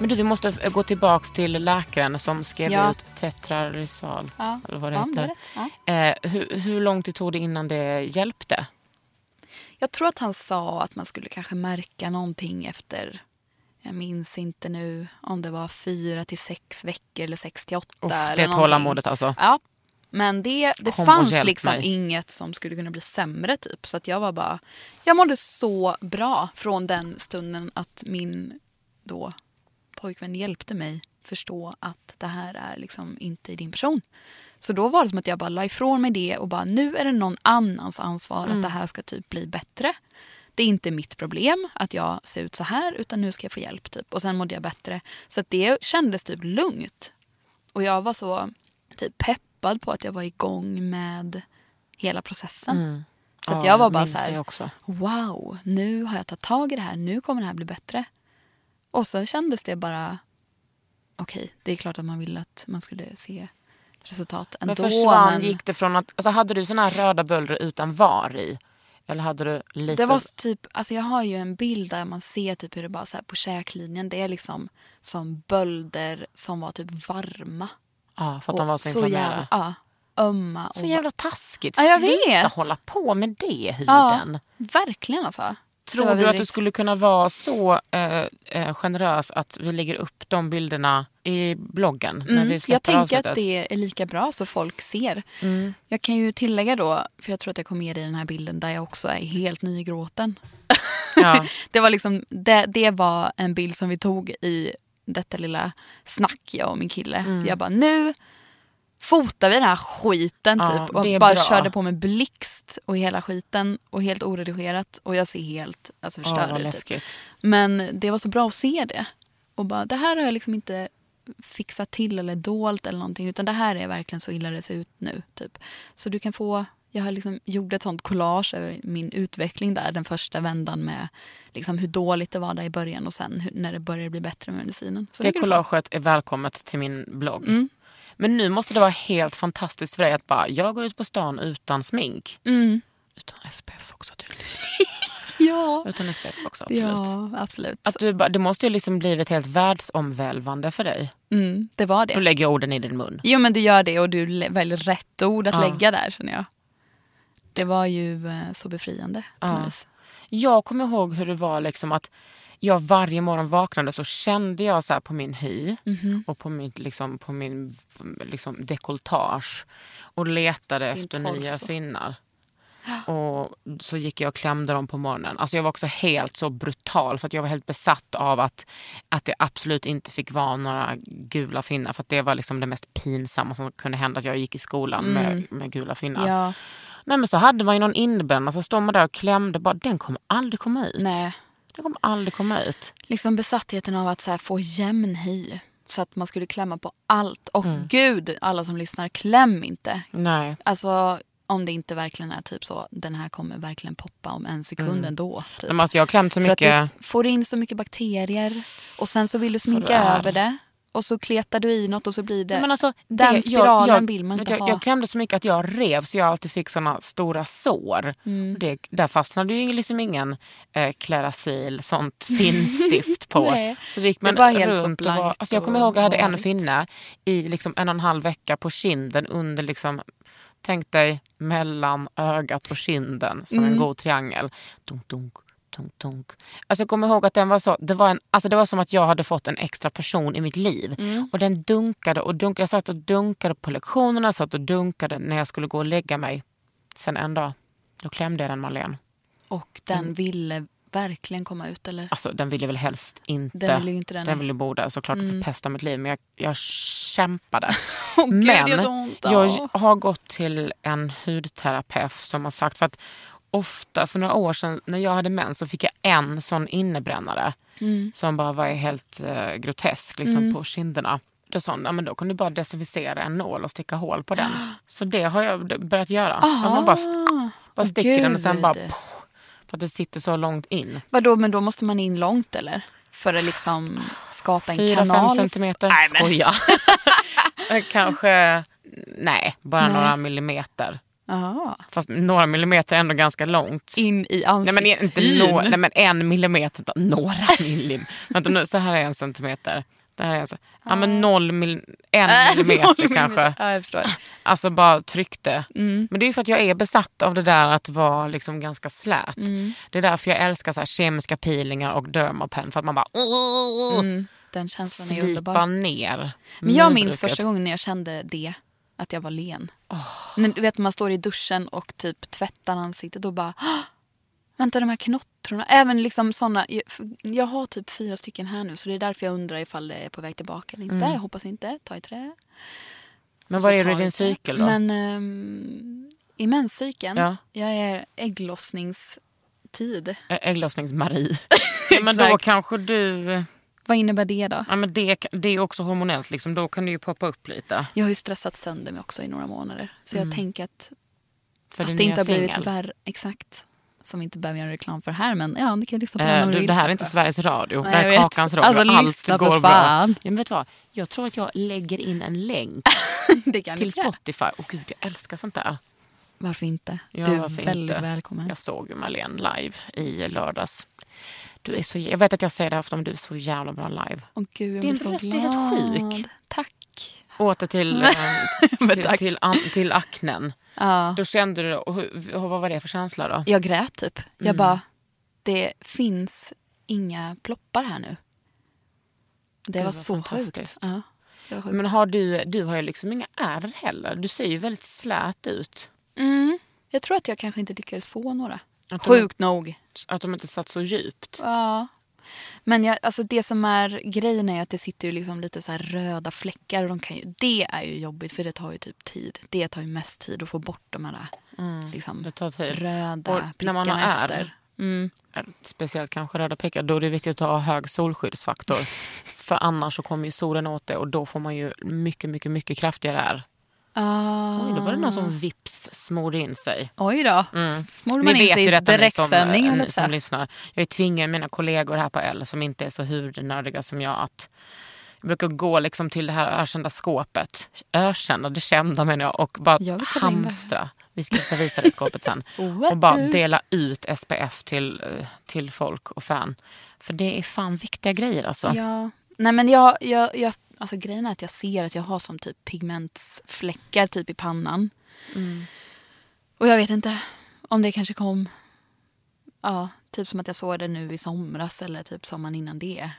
Speaker 1: Men du, vi måste f- gå tillbaks till läkaren som skrev
Speaker 4: Ja.
Speaker 1: ut tetralysal.
Speaker 4: Ja.
Speaker 1: Eller vad det
Speaker 4: Ja, men det är
Speaker 1: heter.
Speaker 4: rätt. Ja.
Speaker 1: Eh, hur, hur lång tid tog det innan det hjälpte?
Speaker 4: Jag tror att han sa att man skulle kanske märka någonting efter jag minns inte nu om det var fyra till sex veckor eller sex till åtta.
Speaker 1: Uff,
Speaker 4: eller
Speaker 1: det är
Speaker 4: någonting.
Speaker 1: tålamodet alltså.
Speaker 4: Ja, men det, det
Speaker 1: Kom och
Speaker 4: fanns
Speaker 1: hjälp
Speaker 4: liksom
Speaker 1: mig.
Speaker 4: inget som skulle kunna bli sämre typ. Så att jag var bara, jag mådde så bra från den stunden att min då pojkvän hjälpte mig förstå att det här är liksom inte din person. Så då var det som att jag bara la ifrån mig det och bara nu är det någon annans ansvar att
Speaker 1: Mm.
Speaker 4: det här ska typ bli bättre. Det är inte mitt problem att jag ser ut så här utan nu ska jag få hjälp typ. Och sen mådde jag bättre. Så att det kändes typ lugnt. Och jag var så typ peppad på att jag var igång med hela processen. Så att
Speaker 1: Mm. Ja,
Speaker 4: jag var bara
Speaker 1: minns
Speaker 4: så här,
Speaker 1: det också.
Speaker 4: wow, nu har jag tagit tag i det här, nu kommer det här bli bättre. Och så kändes det bara, okej, det är klart att man ville att man skulle se resultat ändå.
Speaker 1: Men försvann,
Speaker 4: men
Speaker 1: gick det från att... Alltså hade du såna här röda böldror utan var i? Eller hade du lite...
Speaker 4: det var så typ, alltså jag har ju en bild där man ser typ hur det bara så här på käklinjen, det är liksom som bölder som var typ varma.
Speaker 1: Ja, för att de var så
Speaker 4: Och jävla,
Speaker 1: inflammerade.
Speaker 4: ja, ömma.
Speaker 1: Så
Speaker 4: och-
Speaker 1: jävla taskigt.
Speaker 4: Ja, jag
Speaker 1: Sluta
Speaker 4: vet.
Speaker 1: hålla på med det,
Speaker 4: ja,
Speaker 1: huden.
Speaker 4: verkligen alltså. Det
Speaker 1: Tror
Speaker 4: var
Speaker 1: du att du
Speaker 4: vidrigt.
Speaker 1: skulle kunna vara så eh, eh, generös att vi lägger upp de bilderna i bloggen när
Speaker 4: Mm,
Speaker 1: vi
Speaker 4: jag
Speaker 1: släpper
Speaker 4: tänker
Speaker 1: avsnittet?
Speaker 4: att det är lika bra så folk ser.
Speaker 1: Mm.
Speaker 4: Jag kan ju tillägga då, för jag tror att jag kom med i den här bilden där jag också är helt ny i gråten.
Speaker 1: Ja.
Speaker 4: Det var, liksom, det, det var en bild som vi tog i detta lilla snack jag och min kille.
Speaker 1: Mm.
Speaker 4: Jag bara nu fotar vi den här skiten
Speaker 1: Ja,
Speaker 4: typ.
Speaker 1: det är
Speaker 4: Och bara
Speaker 1: bra.
Speaker 4: körde på med blixt och hela skiten och helt oredigerat. Och jag ser helt alltså,
Speaker 1: Ja, vad
Speaker 4: förstörd ut. Typ.
Speaker 1: läskigt.
Speaker 4: Men det var så bra att se det. Och bara, det här har jag liksom inte fixat till eller dolt eller någonting. Utan det här är verkligen så illa det ser ut nu. Typ. Så du kan få, jag har liksom gjort ett sånt collage över min utveckling där. Den första vändan med liksom hur dåligt det var där i början och sen hur, när det började bli bättre med medicinen. Så
Speaker 1: Det
Speaker 4: kan du få. Mm,
Speaker 1: collaget är Mm. välkommet till min blogg. Men nu måste det vara helt fantastiskt för dig att bara, jag går ut på stan utan smink.
Speaker 4: Mm.
Speaker 1: Utan SPF också typ. tydligen.
Speaker 4: Ja,
Speaker 1: Utan SPF också, absolut.
Speaker 4: ja, absolut.
Speaker 1: Att du, bara- det måste ju liksom blivit helt världsomvälvande för dig.
Speaker 4: Mm, det var
Speaker 1: Nu
Speaker 4: det.
Speaker 1: lägger jag orden i din mun.
Speaker 4: Jo men du gör det och du lä- väljer rätt ord att
Speaker 1: Ja.
Speaker 4: lägga där känner jag. Det var ju eh, så befriande på
Speaker 1: Ja.
Speaker 4: något vis.
Speaker 1: Jag kommer ihåg hur det var liksom att jag varje morgon vaknade så kände jag så här på min hy och på, mitt, liksom, på min liksom, dekolletage och letade
Speaker 4: Din
Speaker 1: efter
Speaker 4: torso.
Speaker 1: nya finnar. Och så gick jag och klämde dem på morgonen. Alltså jag var också helt så brutal för att jag var helt besatt av att, att det absolut inte fick vara några gula finnar. För att det var liksom det mest pinsamma som kunde hända att jag gick i skolan med, med gula finnar.
Speaker 4: Ja,
Speaker 1: Nej men så hade man ju någon inbäddad så står man där och klämde bara den kommer aldrig komma ut.
Speaker 4: nej.
Speaker 1: Den kommer aldrig komma ut.
Speaker 4: Liksom besattheten av att så här få jämn hy. Så att man skulle klämma på allt. Och
Speaker 1: Mm.
Speaker 4: gud, alla som lyssnar, kläm inte.
Speaker 1: Nej.
Speaker 4: Alltså om det inte verkligen är typ så, den här kommer verkligen poppa om en sekund ändå. Typ.
Speaker 1: Men alltså jag har klämt så
Speaker 4: För att du
Speaker 1: mycket.
Speaker 4: får in så mycket bakterier och sen så vill du
Speaker 1: det
Speaker 4: sminka
Speaker 1: är-
Speaker 4: över det. Och så kletar du i något och så blir det...
Speaker 1: Nej, men alltså,
Speaker 4: den
Speaker 1: jag-
Speaker 4: spiralen vill man
Speaker 1: vet
Speaker 4: inte
Speaker 1: jag,
Speaker 4: ha.
Speaker 1: Jag klämde så mycket att jag rev så jag alltid fick såna stora sår.
Speaker 4: Mm.
Speaker 1: Och Det, där fastnade ju liksom ingen eh, Clarasil, sånt (laughs) finstift på.
Speaker 4: Nej.
Speaker 1: så det gick
Speaker 4: Det
Speaker 1: man
Speaker 4: var helt så
Speaker 1: runt och var,
Speaker 4: blankt
Speaker 1: alltså Jag kommer
Speaker 4: och
Speaker 1: ihåg att jag hade en
Speaker 4: varit.
Speaker 1: finne i liksom en och en halv vecka på kinden under liksom Tänk dig mellan ögat och kinden som
Speaker 4: Mm.
Speaker 1: en god triangel. Dunk, dunk, dunk, dunk. Alltså jag kommer ihåg att den var så, det, var en, alltså det var som att jag hade fått en extra person i mitt liv.
Speaker 4: Mm.
Speaker 1: Och den dunkade och dunkade. Jag satt och dunkade på lektionerna, jag satt och dunkade när jag skulle gå och lägga mig. Sen en dag, då klämde jag den Marlene.
Speaker 4: Och
Speaker 1: Mm.
Speaker 4: den ville verkligen komma ut eller?
Speaker 1: Alltså den ville väl helst inte.
Speaker 4: Den ville ju inte den.
Speaker 1: Den ville bo där såklart
Speaker 4: Mm.
Speaker 1: och förpesta mitt liv. Men jag, jag kämpade.
Speaker 4: Åh, (laughs) gud, det gör
Speaker 1: men
Speaker 4: så ont, Ah. ja.
Speaker 1: jag har gått till en hudterapeut som har sagt för att ofta för några år sedan när jag hade mens så fick jag en sån innebrännare
Speaker 4: Mm.
Speaker 1: som bara var helt eh, grotesk liksom, på kinderna. Då sa hon, "Ja, men då kan du bara desinficera en nål och sticka hål på
Speaker 4: (gasps)
Speaker 1: den. Så det har jag börjat göra. Att man bara, st- bara
Speaker 4: Åh,
Speaker 1: sticker den och sen bara...
Speaker 4: gud.
Speaker 1: Poff, för att det sitter så långt in.
Speaker 4: Vadå, men då måste man in långt eller? För att liksom skapa en
Speaker 1: Fyra, fem
Speaker 4: kanal?
Speaker 1: centimeter.
Speaker 4: Nej,
Speaker 1: (laughs)
Speaker 4: men-
Speaker 1: Skoja. Kanske, nej, bara några millimeter.
Speaker 4: Jaha.
Speaker 1: Fast några millimeter är ändå ganska långt.
Speaker 4: in i
Speaker 1: Nej men, inte
Speaker 4: ansiktshyn.
Speaker 1: nå, nej men en millimeter, utan några (laughs) millimeter. Vänta nu, så här är en centimeter. Det här är en, ce- ja, men noll mil, en (laughs)
Speaker 4: Äh, noll
Speaker 1: millimeter kanske.
Speaker 4: Ja, jag förstår. Mm.
Speaker 1: Alltså bara tryckte. Men det är ju för att jag är besatt av det där att vara liksom ganska slät. Det är därför jag älskar så här kemiska peelingar och dermapen. För att man bara åh,
Speaker 4: Den känslan är
Speaker 1: slipar
Speaker 4: underbar.
Speaker 1: ner.
Speaker 4: Men jag minns
Speaker 1: minbruket.
Speaker 4: första gången när jag kände det, att jag var len. När, du vet man står i duschen och typ tvättar ansiktet och bara "Åh, Vänta de här knott, patroner. Även liksom såna. Jag, jag har typ fyra stycken här nu så det är därför jag undrar ifall det är på väg tillbaka eller inte.
Speaker 1: Mm.
Speaker 4: Jag hoppas inte. Ta i trä.
Speaker 1: Men
Speaker 4: Så
Speaker 1: var är du
Speaker 4: tar
Speaker 1: i din
Speaker 4: det.
Speaker 1: cykel då?
Speaker 4: Men ehm, i menscykeln,
Speaker 1: Ja.
Speaker 4: jag är ägglossningstid.
Speaker 1: Ä-
Speaker 4: (laughs)
Speaker 1: Ägglossnings-Marie. ja, men då
Speaker 4: Exakt.
Speaker 1: kanske du...
Speaker 4: Vad innebär det då?
Speaker 1: Ja, men det, kan- det är också hormonellt, liksom. då kan det ju poppa upp lite.
Speaker 4: Jag har ju stressat sönder mig också i några månader. Så jag tänker att,
Speaker 1: Mm. För din
Speaker 4: att det
Speaker 1: nya
Speaker 4: inte har blivit
Speaker 1: singel.
Speaker 4: värre. Exakt. Som vi inte behöver göra reklam för här men ja, ni kan ju lyssna på den
Speaker 1: Eh,
Speaker 4: om ni
Speaker 1: du,
Speaker 4: vill
Speaker 1: det här är inte
Speaker 4: förstås.
Speaker 1: Sveriges Radio.
Speaker 4: Nej,
Speaker 1: det här
Speaker 4: jag
Speaker 1: är
Speaker 4: vet.
Speaker 1: Kakans Radio.
Speaker 4: Alltså,
Speaker 1: Allt
Speaker 4: lyssna för
Speaker 1: går bra.
Speaker 4: fan. (laughs)
Speaker 1: Ja, men vet du vad? Jag tror att jag lägger in en länk
Speaker 4: Det kan
Speaker 1: till
Speaker 4: ni göra.
Speaker 1: Spotify. Åh gud, jag älskar sånt där.
Speaker 4: Varför inte?
Speaker 1: Ja,
Speaker 4: du är
Speaker 1: varför
Speaker 4: väldigt
Speaker 1: inte?
Speaker 4: välkommen.
Speaker 1: Jag såg ju Marlene live i lördags. Du är så, jag vet att jag säger det här ofta, men du är så jävla bra live.
Speaker 4: Åh gud, jag
Speaker 1: Din
Speaker 4: blir så
Speaker 1: röst är
Speaker 4: glad.
Speaker 1: helt sjuk.
Speaker 4: Tack.
Speaker 1: Åter
Speaker 4: (laughs)
Speaker 1: till, eh,
Speaker 4: Men
Speaker 1: till,
Speaker 4: tack.
Speaker 1: till, an, till aknen.
Speaker 4: Ja.
Speaker 1: Då kände du, och hur, och vad var det för känsla då?
Speaker 4: Jag grät typ. Jag
Speaker 1: Mm.
Speaker 4: bara, det finns inga ploppar här nu. Det,
Speaker 1: var
Speaker 4: var, så sjukt.
Speaker 1: fantastiskt.
Speaker 4: Ja, det var sjukt.
Speaker 1: Men har du, du har ju liksom inga ärr heller. Du ser ju väldigt slät ut.
Speaker 4: mm, jag tror att jag kanske inte lyckades få några.
Speaker 1: Att de-
Speaker 4: Sjukt nog.
Speaker 1: Att de inte satt så djupt.
Speaker 4: Ja. Men jag, alltså det som är grejen är att det sitter ju liksom lite så här röda fläckar. Och de kan ju, det är ju jobbigt för det tar ju typ tid. Det tar ju mest tid att få bort de här liksom,
Speaker 1: Mm. Det tar tid.
Speaker 4: röda
Speaker 1: Och när
Speaker 4: prickarna
Speaker 1: man har ärr-
Speaker 4: efter. Mm.
Speaker 1: Speciellt kanske röda prickar. Då är det viktigt att ha hög
Speaker 4: (laughs)
Speaker 1: solskyddsfaktor. För annars så kommer ju solen åt det och då får man ju mycket, mycket, mycket kraftigare ärr.
Speaker 4: Ah.
Speaker 1: Oj, då var det någon som vips smorde in sig.
Speaker 4: Oj då.
Speaker 1: Mm.
Speaker 4: Smorde man in sig i
Speaker 1: detta ni som, eh,
Speaker 4: direktsändning. höll
Speaker 1: ni
Speaker 4: jag på att säga.
Speaker 1: som lyssnar. Jag tvingar mina kollegor här på L som inte är så hudnördiga som jag att jag brukar gå liksom till det här ökända skåpet. Ökända, det kända menar jag. Och bara
Speaker 4: Jag vill kolla in det här.
Speaker 1: hamstra. Vi ska visa det skåpet
Speaker 4: (laughs)
Speaker 1: sen. och bara dela ut SPF till, eh, till folk och fan. För det är fan viktiga grejer alltså.
Speaker 4: Ja. Nej men jag, jag, jag, alltså grejen är att jag ser att jag har som typ pigmentsfläckar typ i pannan.
Speaker 1: Mm.
Speaker 4: Och jag vet inte om det kanske kom, ja, typ som att jag såg det nu i somras eller typ sommaren innan det.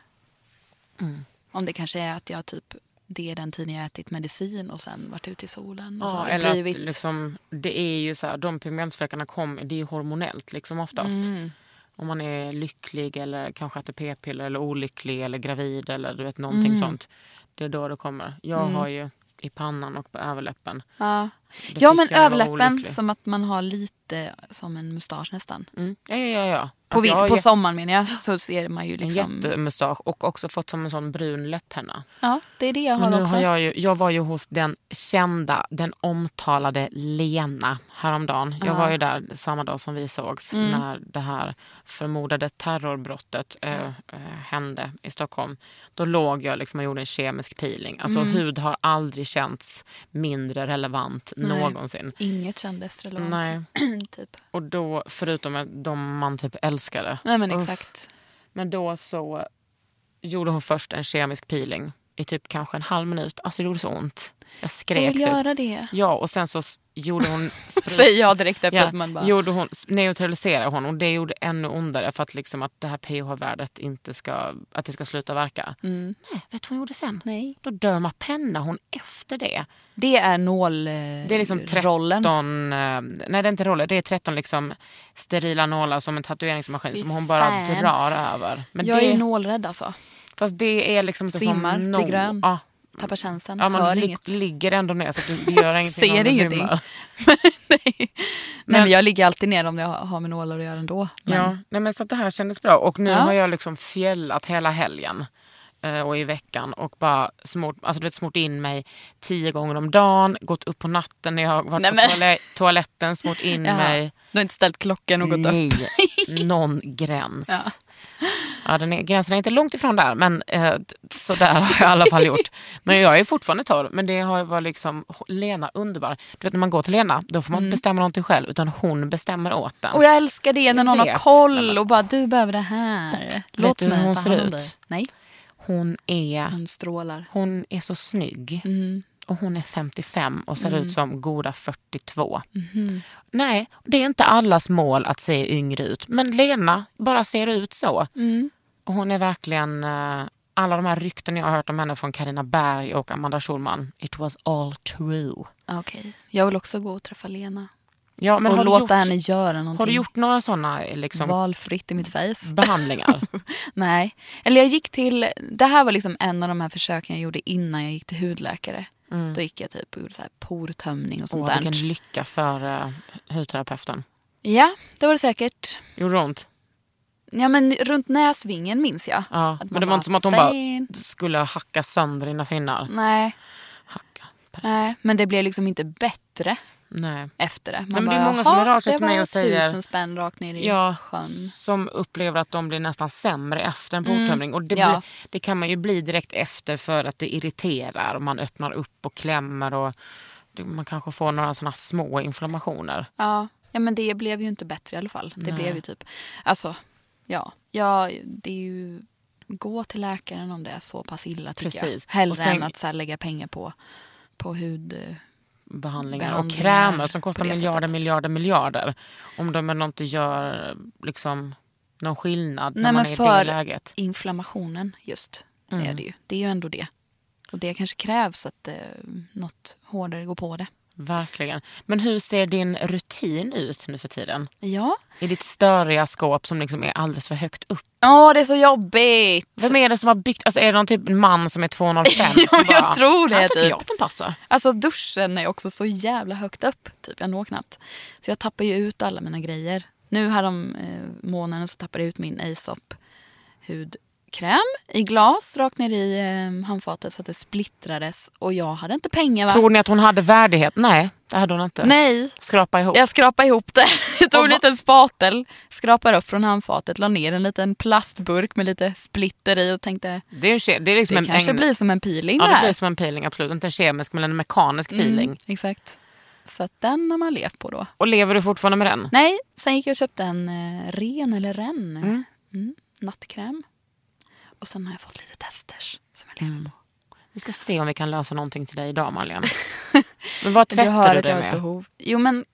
Speaker 1: Mm.
Speaker 4: Om det kanske är att jag typ, det är den tiden jag ätit medicin och sen varit ute i solen och så
Speaker 1: Ja,
Speaker 4: har det
Speaker 1: eller
Speaker 4: blivit.
Speaker 1: att liksom, det är ju så här, de pigmentfläckarna kommer, det är ju hormonellt liksom oftast.
Speaker 4: Mm.
Speaker 1: Om man är lycklig eller kanske äter p-piller eller olycklig eller gravid eller du vet någonting
Speaker 4: Mm.
Speaker 1: sånt. Det är då det kommer. Jag har ju i pannan och på överläppen.
Speaker 4: ja.
Speaker 1: Det
Speaker 4: ja
Speaker 1: fick jag
Speaker 4: men
Speaker 1: när jag var
Speaker 4: överläppen,
Speaker 1: olycklig.
Speaker 4: som att man har lite som en mustasch nästan.
Speaker 1: Mm. Ja, ja, ja. ja.
Speaker 4: På,
Speaker 1: Alltså, jag
Speaker 4: vin-
Speaker 1: har
Speaker 4: på
Speaker 1: jä-
Speaker 4: sommaren menar jag, så ser man ju
Speaker 1: en
Speaker 4: liksom...
Speaker 1: jättemustasch och också fått som en sån brun läpphenna.
Speaker 4: Ja, det är det jag
Speaker 1: Men
Speaker 4: har
Speaker 1: nu
Speaker 4: också.
Speaker 1: har jag, ju, jag var ju hos den kända, den omtalade Lena häromdagen. Jag var ju där samma dag som vi sågs
Speaker 4: Mm.
Speaker 1: när det här förmodade terrorbrottet eh, eh, hände i Stockholm. Då låg jag liksom och gjorde en kemisk peeling. Alltså
Speaker 4: Mm.
Speaker 1: hud har aldrig känts mindre relevant
Speaker 4: Nej.
Speaker 1: någonsin.
Speaker 4: Inget kändes relevant.
Speaker 1: Nej.
Speaker 4: (clears throat) typ.
Speaker 1: Och då, förutom att de man typ älskade.
Speaker 4: Nej men
Speaker 1: Uff.
Speaker 4: exakt.
Speaker 1: Men då så gjorde hon först en kemisk peeling i typ kanske en halv minut. Alltså det gjorde så ont. Jag
Speaker 4: Jag
Speaker 1: skrek
Speaker 4: vill
Speaker 1: typ.
Speaker 4: göra det.
Speaker 1: (laughs) Ja, och sen så s- gjorde
Speaker 4: (laughs)
Speaker 1: hon... sprut-
Speaker 4: Säger jag direkt efter
Speaker 1: Ja,
Speaker 4: att man bara...
Speaker 1: gjorde hon, s- neutraliserade hon och det gjorde ännu ondare för att, liksom att det här pH-värdet inte ska, att det ska sluta verka.
Speaker 4: Mm.
Speaker 1: Nej, vet du vad hon gjorde sen?
Speaker 4: Nej.
Speaker 1: Då dömar hon efter det.
Speaker 4: Det är nål... eh,
Speaker 1: Det är liksom 13,
Speaker 4: rollen.
Speaker 1: eh, nej det är inte roller, det är 13 liksom sterila nålar som en tatueringsmaskin
Speaker 4: Fy
Speaker 1: som hon bara
Speaker 4: fan.
Speaker 1: drar över. Men
Speaker 4: jag
Speaker 1: det,
Speaker 4: är nålrädd alltså.
Speaker 1: fast det är liksom inte
Speaker 4: Svimmar,
Speaker 1: som
Speaker 4: blir
Speaker 1: nål.
Speaker 4: grön.
Speaker 1: Ja,
Speaker 4: Tappar känslan,
Speaker 1: ja,
Speaker 4: hör
Speaker 1: man lig-
Speaker 4: inget.
Speaker 1: ligger ändå ner så att du
Speaker 4: (laughs)
Speaker 1: gör ingenting om
Speaker 4: Ser
Speaker 1: du
Speaker 4: ingenting.
Speaker 1: svimmar.
Speaker 4: (laughs) Nej. Nej men jag ligger alltid ner om jag har med nålar att göra ändå. Men,
Speaker 1: Ja, nej men så att det här kändes bra. Och nu
Speaker 4: Ja.
Speaker 1: har jag liksom fjällat hela helgen eh, och i veckan och bara smort, alltså du vet, smort in mig tio gånger om dagen, gått upp på natten när jag har varit
Speaker 4: Nej,
Speaker 1: på
Speaker 4: men-
Speaker 1: toale- toaletten, smort
Speaker 4: (laughs)
Speaker 1: in
Speaker 4: Jaha.
Speaker 1: mig.
Speaker 4: Du har inte ställt klockan och gått upp.
Speaker 1: Nej, någon gräns.
Speaker 4: Ja.
Speaker 1: Ja. den är, gränsen är inte långt ifrån där, men eh, d- så där har jag i alla fall gjort. Men jag är fortfarande torr, men det har varit liksom Lena underbar. Du vet när man går till Lena, då får man inte bestämma någonting själv, utan hon bestämmer åt en.
Speaker 4: Mm. Och jag älskar det när
Speaker 1: Jag
Speaker 4: någon har
Speaker 1: vet.
Speaker 4: koll och bara du behöver det här. Låt
Speaker 1: du hur
Speaker 4: mig
Speaker 1: hon
Speaker 4: ta
Speaker 1: ser
Speaker 4: hand om
Speaker 1: ut?
Speaker 4: dig. Nej,
Speaker 1: Hon är
Speaker 4: hon strålar.
Speaker 1: Hon är så snygg. Och hon är 55 och ser
Speaker 4: Mm.
Speaker 1: ut som goda 42.
Speaker 4: Mhm.
Speaker 1: Nej, det är inte allas mål att se yngre ut. Men Lena bara ser ut så. Och hon är verkligen... eh, Alla de här rykten jag har hört om henne från Karina Berg och Amanda Schulman. It was all true.
Speaker 4: Okej, jag vill också gå och träffa Lena.
Speaker 1: Ja, men
Speaker 4: och
Speaker 1: har,
Speaker 4: låta
Speaker 1: du gjort,
Speaker 4: henne göra någonting.
Speaker 1: har du gjort några sådana liksom,
Speaker 4: valfritt i mitt face?
Speaker 1: (laughs) behandlingar?
Speaker 4: (laughs) Nej. Eller jag gick till, det här var liksom en av de här försöken jag gjorde innan jag gick till hudläkare. Då gick jag typ och gjorde så här portömning och sånt
Speaker 1: Mm. Åh,
Speaker 4: där.
Speaker 1: vilken lycka för eh, hudterapeuten.
Speaker 4: Ja, det var det säkert.
Speaker 1: Gjorde det ont?
Speaker 4: Ja men runt näsvingen minns jag.
Speaker 1: Ja.
Speaker 4: Att
Speaker 1: Men det
Speaker 4: man
Speaker 1: var Mm. inte
Speaker 4: bara,
Speaker 1: som att hon bara
Speaker 4: "Fan."
Speaker 1: skulle hacka sönder dina finnar.
Speaker 4: Nej,
Speaker 1: Hacka.
Speaker 4: nej, men det blev liksom inte bättre
Speaker 1: Nej.
Speaker 4: efter det. Man
Speaker 1: men det
Speaker 4: bara,
Speaker 1: är många som
Speaker 4: "Jaha,
Speaker 1: hör av sig
Speaker 4: det
Speaker 1: till mig
Speaker 4: var
Speaker 1: och säger-
Speaker 4: tusen spänn rakt ner i
Speaker 1: Ja,
Speaker 4: sjön.
Speaker 1: som upplever att de blir nästan sämre efter en portömning. Och det,
Speaker 4: Mm. ja.
Speaker 1: blir, det kan man ju bli direkt efter för att det irriterar och man öppnar upp och klämmer och det, man kanske får några sådana små inflammationer.
Speaker 4: Ja. ja, men det blev ju inte bättre i alla fall. Det blev ju typ, alltså, ja. ja, det är ju, gå till läkaren om det är så pass illa tycker
Speaker 1: Precis.
Speaker 4: jag. Hellre
Speaker 1: Och sen-
Speaker 4: än att så här, lägga pengar på, på hud.
Speaker 1: Behandlingar, och
Speaker 4: Behandlingar
Speaker 1: krämer som
Speaker 4: på
Speaker 1: kostar
Speaker 4: det
Speaker 1: miljarder,
Speaker 4: sättet.
Speaker 1: miljarder, miljarder. Om de ändå inte gör liksom, någon skillnad
Speaker 4: Nej,
Speaker 1: när man
Speaker 4: men
Speaker 1: är i
Speaker 4: för-
Speaker 1: det läget.
Speaker 4: Inflammationen just,
Speaker 1: Mm.
Speaker 4: det är det ju. Det är ju ändå det. Och det kanske krävs att eh, något hårdare går på det.
Speaker 1: Verkligen. Men hur ser din rutin ut nu för tiden?
Speaker 4: Ja.
Speaker 1: I ditt störiga skåp som liksom är alldeles för högt upp.
Speaker 4: Åh, det är så jobbigt!
Speaker 1: Vem är det som har byggt, alltså är det någon typ en man som är
Speaker 4: (laughs)
Speaker 1: 205?
Speaker 4: Ja,
Speaker 1: som
Speaker 4: jag tror det,
Speaker 1: "Här tycker
Speaker 4: typ."
Speaker 1: jag att den passar.
Speaker 4: Alltså duschen är också så jävla högt upp. Typ. Jag når knappt. Så jag tappar ju ut alla mina grejer. Nu härom eh, månaden så tappade jag ut min Aesop hudkräm i glas rakt ner i eh, handfatet så att det splittrades. Och jag hade inte pengar va?
Speaker 1: Tror ni att hon hade värdighet? Nej, det hade hon inte.
Speaker 4: Nej,
Speaker 1: Skrapa ihop.
Speaker 4: jag skrapade ihop det. (laughs) Jag tog
Speaker 1: Och
Speaker 4: en
Speaker 1: va-
Speaker 4: liten spatel, skrapade upp från handfatet, la ner en liten plastburk med lite splitter i och tänkte
Speaker 1: Det, är ju, ke- det är liksom
Speaker 4: det
Speaker 1: en,
Speaker 4: kanske
Speaker 1: en,
Speaker 4: blir som en peeling
Speaker 1: Ja, det
Speaker 4: här.
Speaker 1: blir som en peeling absolut. Inte en kemisk men en mekanisk peeling.
Speaker 4: Mm, exakt. Så att den har man levt på då.
Speaker 1: Och lever du fortfarande med den?
Speaker 4: Nej, sen gick jag och köpte en eh, ren eller ren mm. nattkräm. Och sen har jag fått lite testers som jag lever
Speaker 1: Mm.
Speaker 4: på.
Speaker 1: Vi ska se om vi kan lösa någonting till dig idag
Speaker 4: (laughs)
Speaker 1: Marlene. Men vad
Speaker 4: Men
Speaker 1: tvättar du
Speaker 4: jag
Speaker 1: dig
Speaker 4: har ett
Speaker 1: med?
Speaker 4: behov. Jo men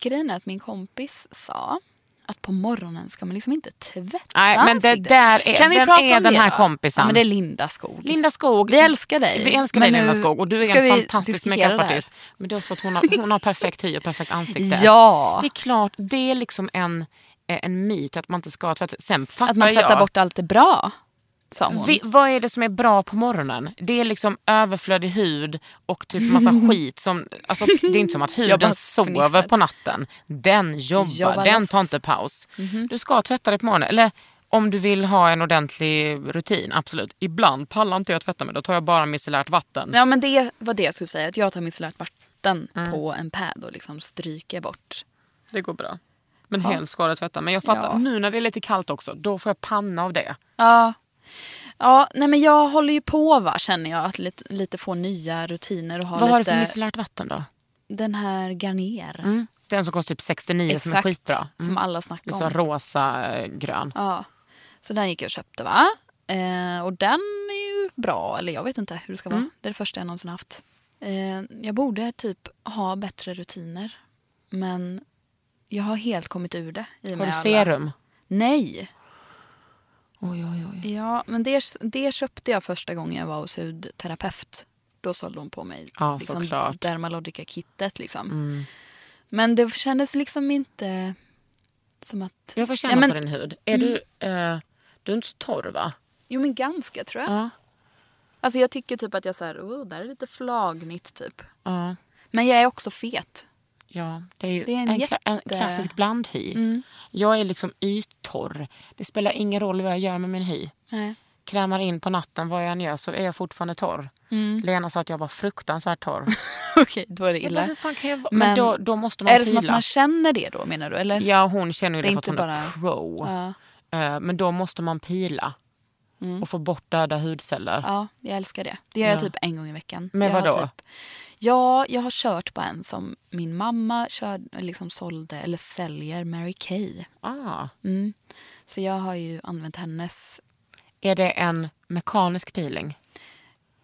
Speaker 4: grejen är att min kompis sa att på morgonen ska man liksom inte tvätta
Speaker 1: Nej, men det
Speaker 4: ansiktet.
Speaker 1: där är,
Speaker 4: Kan vi
Speaker 1: vem
Speaker 4: prata
Speaker 1: är
Speaker 4: om
Speaker 1: den
Speaker 4: det
Speaker 1: här
Speaker 4: då?
Speaker 1: kompisen?
Speaker 4: Ja, men det är Linda Skog.
Speaker 1: Linda Skog.
Speaker 4: Vi älskar dig.
Speaker 1: Vi älskar
Speaker 4: Men
Speaker 1: dig Linda
Speaker 4: nu
Speaker 1: Skog och du är
Speaker 4: ska
Speaker 1: en
Speaker 4: vi
Speaker 1: fantastisk
Speaker 4: diskutera det här.
Speaker 1: makeupartist. Men det är för att hon har, hon har perfekt hy och perfekt ansikte.
Speaker 4: (laughs) Ja!
Speaker 1: Det är klart, det är liksom en, eh, en myt att man inte ska tvätta. Sen fattar
Speaker 4: Att man tvättar
Speaker 1: jag.
Speaker 4: bort allt det bra, sa hon.
Speaker 1: Vi, vad är det som är bra på morgonen? Det är liksom överflödig hud och typ
Speaker 4: (laughs)
Speaker 1: massa skit. Som, alltså, det är inte som att
Speaker 4: Jag bara
Speaker 1: huden sover
Speaker 4: fnissar.
Speaker 1: på natten. Den jobbar,
Speaker 4: Jobbar
Speaker 1: den
Speaker 4: loss.
Speaker 1: tar inte paus.
Speaker 4: Mhm.
Speaker 1: Du ska tvätta dig på morgonen. Eller om du vill ha en ordentlig rutin, absolut. Ibland pallar inte jag tvätta mig, då tar jag bara micellärt vatten.
Speaker 4: Ja men det var det jag skulle säga. Att jag tar micellärt vatten
Speaker 1: Mm.
Speaker 4: på en pad och liksom stryker bort.
Speaker 1: Det går bra. Men helst ska du tvätta. Men jag fattar,
Speaker 4: Ja.
Speaker 1: nu när det är lite kallt också, då får jag panna av det.
Speaker 4: Ja. Ja, nej men jag håller ju på va känner jag att lite, lite få nya rutiner och ha
Speaker 1: Vad har du
Speaker 4: lite
Speaker 1: för micellärt vatten då?
Speaker 4: den här Garnier.
Speaker 1: Mm. Den som kostar typ 69 som är skitbra. Mm.
Speaker 4: som alla snackar
Speaker 1: Liksom
Speaker 4: om.
Speaker 1: rosa, eh, grön.
Speaker 4: Ja. Så den gick jag och köpte va. Eh, och den är ju bra, eller jag vet inte hur det ska vara.
Speaker 1: Mm.
Speaker 4: Det är det första jag någonsin haft. Eh, jag borde typ ha bättre rutiner. Men jag har helt kommit ur det. I och
Speaker 1: Har
Speaker 4: med
Speaker 1: du
Speaker 4: alla-
Speaker 1: serum?
Speaker 4: Nej.
Speaker 1: Oj, oj, oj.
Speaker 4: Ja, men det, det köpte jag första gången jag var hos hudterapeut. Då sålde hon på mig liksom,
Speaker 1: Ja, såklart. Mm.
Speaker 4: Dermalogica-kittet. Liksom. Men det kändes liksom inte som att...
Speaker 1: Jag får känna
Speaker 4: Ja, men-
Speaker 1: på din hud. Är du, eh, du är inte så torr va?
Speaker 4: Jo, men ganska tror jag.
Speaker 1: Ja.
Speaker 4: Alltså jag tycker typ att jag så här, oh, där är lite flagnigt typ.
Speaker 1: Ja,
Speaker 4: Men jag är också fet.
Speaker 1: ja. det är ju
Speaker 4: Det är
Speaker 1: en,
Speaker 4: en
Speaker 1: kla- en
Speaker 4: jätte- Mm.
Speaker 1: klassisk blandhy. Jag är liksom yttorr. Det spelar ingen roll vad jag gör med min hy.
Speaker 4: Nej.
Speaker 1: Krämar in på natten, vad jag än gör så är jag fortfarande torr.
Speaker 4: Mm.
Speaker 1: Lena sa att jag var fruktansvärt
Speaker 4: (laughs)
Speaker 1: torr.
Speaker 4: (laughs) Okej, då är det
Speaker 1: Jag bara,
Speaker 4: illa.
Speaker 1: hur fan kan jag vara? Men,
Speaker 4: Men
Speaker 1: då, då måste man
Speaker 4: Är det som att
Speaker 1: pila.
Speaker 4: man känner det då menar du? Eller?
Speaker 1: Ja, hon känner ju
Speaker 4: Det
Speaker 1: det,
Speaker 4: är
Speaker 1: för att hon
Speaker 4: inte
Speaker 1: är pro.
Speaker 4: Ja.
Speaker 1: Eh, Men då måste man pila och få bort döda hudceller.
Speaker 4: Mm. Ja, jag älskar det. Det gör jag
Speaker 1: Ja.
Speaker 4: typ en gång i veckan.
Speaker 1: Men
Speaker 4: jag har
Speaker 1: vadå?
Speaker 4: Typ, ja, jag har kört på en som min mamma kör, liksom sålde eller säljer Mary Kay.
Speaker 1: Ah.
Speaker 4: Mm. Så jag har ju använt hennes.
Speaker 1: Är det en mekanisk peeling?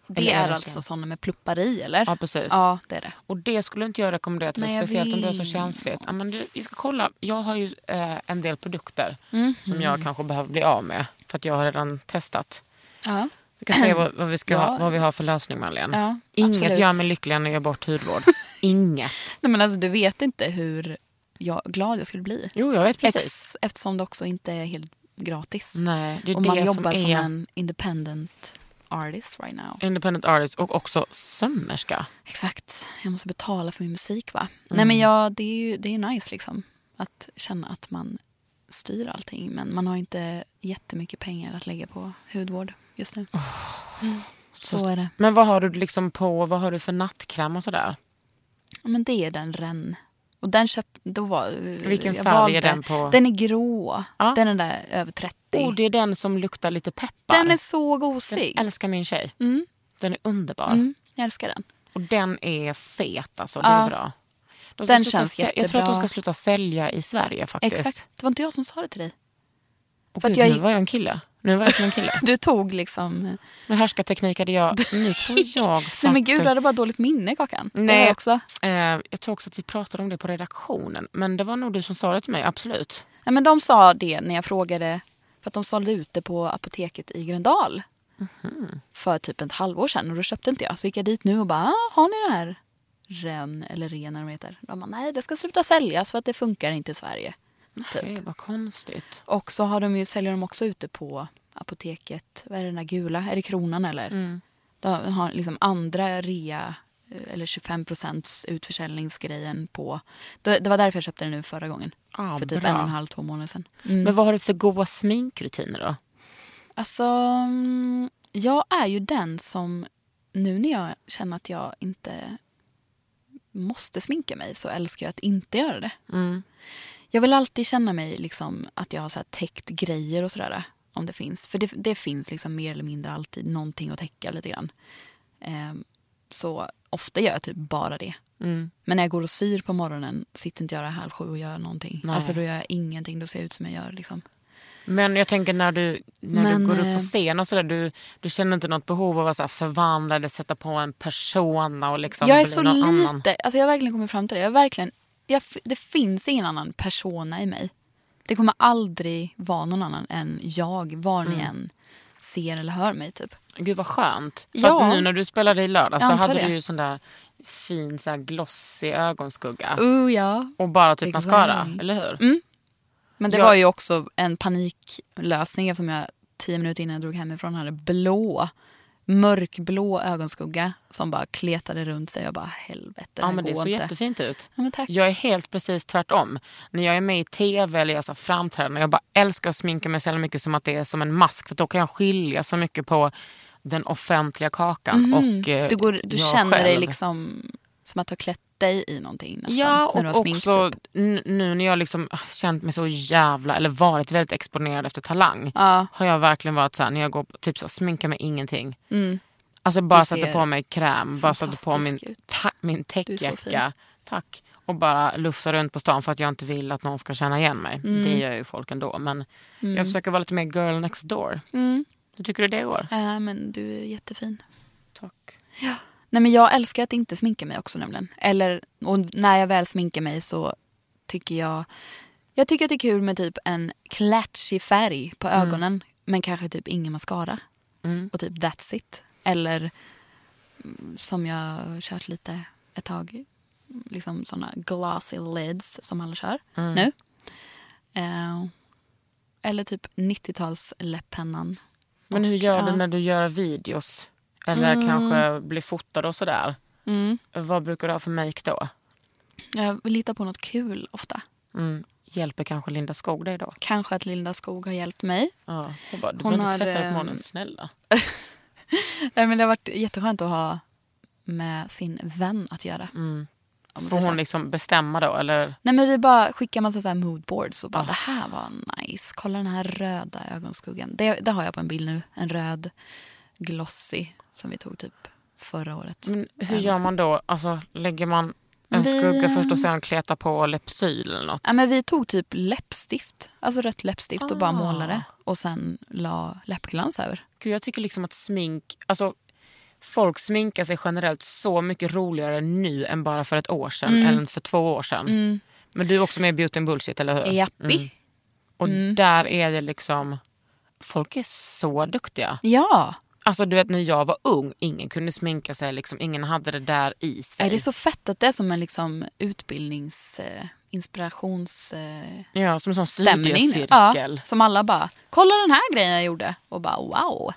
Speaker 4: Det
Speaker 1: Eller är
Speaker 4: är
Speaker 1: det
Speaker 4: alltså
Speaker 1: så?
Speaker 4: sådana med pluppar i eller?
Speaker 1: Ja, precis.
Speaker 4: Ja, det är det.
Speaker 1: Och det skulle inte jag rekommendera till dig,
Speaker 4: Nej, jag
Speaker 1: speciellt om du är så
Speaker 4: vet.
Speaker 1: känsligt. Ja, men du, jag ska kolla. Jag har ju eh, en del produkter
Speaker 4: Mm.
Speaker 1: som jag kanske behöver bli av med för att jag har redan testat.
Speaker 4: Ja,
Speaker 1: Vi kan se vad, vad, vi, ska
Speaker 4: Mm. Ja.
Speaker 1: ha, vad vi har för lösning Marlene.
Speaker 4: ja
Speaker 1: Inget
Speaker 4: absolut. (laughs)
Speaker 1: gör mig lyckligare än att göra bort hudvård. Inget.
Speaker 4: Nej, men alltså, du vet inte hur jag, glad jag skulle bli.
Speaker 1: Jo, jag vet precis.
Speaker 4: Ex, eftersom det också inte är helt gratis.
Speaker 1: Nej, det är
Speaker 4: och
Speaker 1: det
Speaker 4: man jobbar
Speaker 1: som
Speaker 4: som,
Speaker 1: är
Speaker 4: en independent artist right now.
Speaker 1: independent artist och också sömmerska.
Speaker 4: Exakt. Jag måste betala för min musik va?
Speaker 1: Mm.
Speaker 4: Nej men ja, det är ju det är nice liksom. Att känna att man styr allting. Men man har inte jättemycket pengar att lägga på hudvård just nu. Mm. Så är det.
Speaker 1: Men vad har du liksom på, vad har du för nattkräm och sådär?
Speaker 4: Ja, men det är den ren. Och den köpte... Då var,
Speaker 1: Vilken
Speaker 4: jag
Speaker 1: färg
Speaker 4: valde-
Speaker 1: är den på?
Speaker 4: Den är grå.
Speaker 1: Ja.
Speaker 4: Den är där över 30.
Speaker 1: Oh, det är den som luktar lite peppar.
Speaker 4: den är så gosig.
Speaker 1: jag älskar min tjej.
Speaker 4: Mm.
Speaker 1: Den är underbar.
Speaker 4: Mm, jag älskar den.
Speaker 1: Och den är fet alltså, det
Speaker 4: Ja.
Speaker 1: är bra. De ska
Speaker 4: Den
Speaker 1: sluta
Speaker 4: känns
Speaker 1: sä- Jag tror att de
Speaker 4: jättebra.
Speaker 1: ska sluta sälja i Sverige faktiskt.
Speaker 4: Exakt. Det var inte jag som sa det till dig.
Speaker 1: Och
Speaker 4: För att
Speaker 1: gud,
Speaker 4: jag
Speaker 1: nu
Speaker 4: gick-
Speaker 1: var jag en kille. Nu var jag som en
Speaker 4: (laughs)
Speaker 1: kille.
Speaker 4: Du tog liksom...
Speaker 1: Med härskarteknik hade
Speaker 4: (laughs)
Speaker 1: jag... Nu tror jag faktiskt...
Speaker 4: Nej men gud, du hade bara dåligt minne Kakan. Det har
Speaker 1: Nej.
Speaker 4: jag också.
Speaker 1: Eh, jag tror också att vi pratade om det på redaktionen. Men det var nog du som sa det till mig, absolut.
Speaker 4: Nej, men de sa det när jag frågade, för att de sålde ut det på apoteket i Gröndal.
Speaker 1: Mhm.
Speaker 4: För typ ett halvår sedan och då köpte inte jag. Så gick jag dit nu och bara, ah, har ni det här? Ren eller ren eller vad det heter. De bara, nej det ska sluta säljas för att det funkar inte i Sverige. typ.
Speaker 1: Nej, vad konstigt.
Speaker 4: Och så har de ju, säljer de också ute på apoteket, vad är det den där gula, är det kronan eller?
Speaker 1: Mm.
Speaker 4: De har liksom andra rea eh, eller 25 utförsäljningsgrejen på. Det, det var därför jag köpte det nu förra gången.
Speaker 1: Ah,
Speaker 4: för typ
Speaker 1: bra.
Speaker 4: en och en halv, två månader sedan. Mm.
Speaker 1: Men vad har du för goa sminkrutiner då?
Speaker 4: Alltså, mm, jag är ju den som nu när jag känner att jag inte måste sminka mig så älskar jag att inte göra det. Jag vill alltid känna mig liksom att jag har så här täckt grejer och sådär. Om det finns. För det, det finns liksom mer eller mindre alltid någonting att täcka lite grann. Ehm, så ofta gör jag typ bara det. Men när jag går och syr på morgonen sitter inte jag där halv sju och gör någonting.
Speaker 1: Nej.
Speaker 4: Alltså då gör jag ingenting. Då ser jag ut som jag gör liksom.
Speaker 1: Men jag tänker när du, när
Speaker 4: Men,
Speaker 1: du går upp
Speaker 4: eh,
Speaker 1: på scen och sådär, du, du känner inte något behov av att så här förvandla eller sätta på en persona och liksom
Speaker 4: Jag är
Speaker 1: bli
Speaker 4: så
Speaker 1: någon annan?
Speaker 4: lite, alltså jag har verkligen kommit fram till det. Jag är verkligen, jag, f- det finns ingen annan persona i mig. Det kommer aldrig vara någon annan än jag, var ni
Speaker 1: Mm.
Speaker 4: än ser eller hör mig. typ.
Speaker 1: Gud vad skönt. För
Speaker 4: Ja.
Speaker 1: att nu när du spelade i lördags
Speaker 4: Jag
Speaker 1: då
Speaker 4: antar
Speaker 1: hade
Speaker 4: det.
Speaker 1: du ju sån där fin så här glossig ögonskugga.
Speaker 4: Uh, ja.
Speaker 1: Och bara typ
Speaker 4: Exakt. Mm.
Speaker 1: mascara, eller hur?
Speaker 4: Men det
Speaker 1: Jag-
Speaker 4: var ju också en paniklösning eftersom jag tio minuter innan jag drog hemifrån hade blå, mörkblå ögonskugga som bara kletade runt sig. Jag bara helvete,
Speaker 1: ja
Speaker 4: här
Speaker 1: men det
Speaker 4: går
Speaker 1: såg
Speaker 4: inte.
Speaker 1: jättefint ut.
Speaker 4: Ja, men tack.
Speaker 1: Jag är helt precis tvärtom. När jag är med i tv eller jag så här framträdanden, jag bara älskar att sminka mig så jävla mycket som att det är som en mask. För då kan jag skilja så mycket på den offentliga kakan och eh,
Speaker 4: Mm. Mhm. du går, du
Speaker 1: jag
Speaker 4: känner dig
Speaker 1: själv.
Speaker 4: liksom som att du har klätt dig i någonting nästan.
Speaker 1: Ja,
Speaker 4: när du
Speaker 1: och
Speaker 4: har smink,
Speaker 1: också
Speaker 4: typ.
Speaker 1: n- nu när jag liksom ah, känt mig så jävla, eller varit väldigt exponerad efter Talang,
Speaker 4: Ja.
Speaker 1: har jag verkligen varit så här, när jag går på- typ så här, sminkar mig ingenting.
Speaker 4: Mm.
Speaker 1: Alltså bara
Speaker 4: Du
Speaker 1: satte
Speaker 4: ser
Speaker 1: på mig kräm, bara satte på min,
Speaker 4: fantastisk ut.
Speaker 1: ta, min
Speaker 4: är så
Speaker 1: täckjacka. Tack. Och bara lufsa runt på stan för att jag inte vill att någon ska känna igen mig.
Speaker 4: Mm.
Speaker 1: Det gör ju folk ändå. Men jag försöker vara lite mer girl next door. Hur tycker du det går?
Speaker 4: Ja, Eh, men du är jättefin.
Speaker 1: Tack.
Speaker 4: Nej, men jag älskar att inte sminka mig också nämligen. Eller, och när jag väl sminkar mig så tycker jag... Jag tycker att det är kul med typ en klatschig färg på
Speaker 1: Mm.
Speaker 4: ögonen. Men kanske typ ingen mascara. Och typ that's it. Eller mm, som jag har kört lite ett tag. Liksom såna glossy lids som alla kör
Speaker 1: mm.
Speaker 4: nu. Eh, eller typ 90-tals läpppennan.
Speaker 1: Men hur gör du
Speaker 4: ja. Mm.
Speaker 1: när du gör videos? Eller kanske blir fotad och sådär? Vad brukar du ha för make då?
Speaker 4: Jag litar på något kul ofta.
Speaker 1: Mm. Hjälper kanske Linda Skog dig då?
Speaker 4: Kanske att Linda Skog har hjälpt mig. (laughs)
Speaker 1: Ja. Hon bara, du
Speaker 4: Hon
Speaker 1: behöver inte
Speaker 4: har,
Speaker 1: tvätta dig på
Speaker 4: ehm,
Speaker 1: morgonen, snälla.
Speaker 4: Nej, men det har varit jätteskönt att ha med sin vän att göra. Mm. Ja, men det är
Speaker 1: Får
Speaker 4: så
Speaker 1: hon
Speaker 4: här-
Speaker 1: liksom bestämma då? Eller?
Speaker 4: Nej, men vi bara skickar massa så här moodboards och bara det här var nice. Kolla den här röda ögonskuggan. Det, det har jag på en bild nu. En röd glossy som vi tog typ förra året.
Speaker 1: Men hur gör man då? Alltså, lägger man en
Speaker 4: Vi,
Speaker 1: skugga först och
Speaker 4: ehm,
Speaker 1: sen kleta på Lypsyl eller något?
Speaker 4: Ja, men vi tog typ läppstift, alltså rött läppstift och bara
Speaker 1: Ah.
Speaker 4: målade och sen la läppglans över.
Speaker 1: Gud, jag tycker liksom att smink... Alltså, folk sminkar sig generellt så mycket roligare nu än bara för ett år sedan. Än för två år sedan. Men du är också med i Beauty and Bullshit, eller hur?
Speaker 4: Jappi.
Speaker 1: Mm. Och där är det liksom... Folk är så duktiga.
Speaker 4: Ja,
Speaker 1: Alltså du vet när jag var ung, ingen kunde sminka sig, liksom, ingen hade det där i sig.
Speaker 4: Är det är så fett att det är som en liksom utbildningsinstitution inspirations... Eh,
Speaker 1: Ja, som en sån
Speaker 4: stämning. Ja,
Speaker 1: studiecirkel. Ja.
Speaker 4: som alla bara, kolla den här grejen jag gjorde. Och bara wow.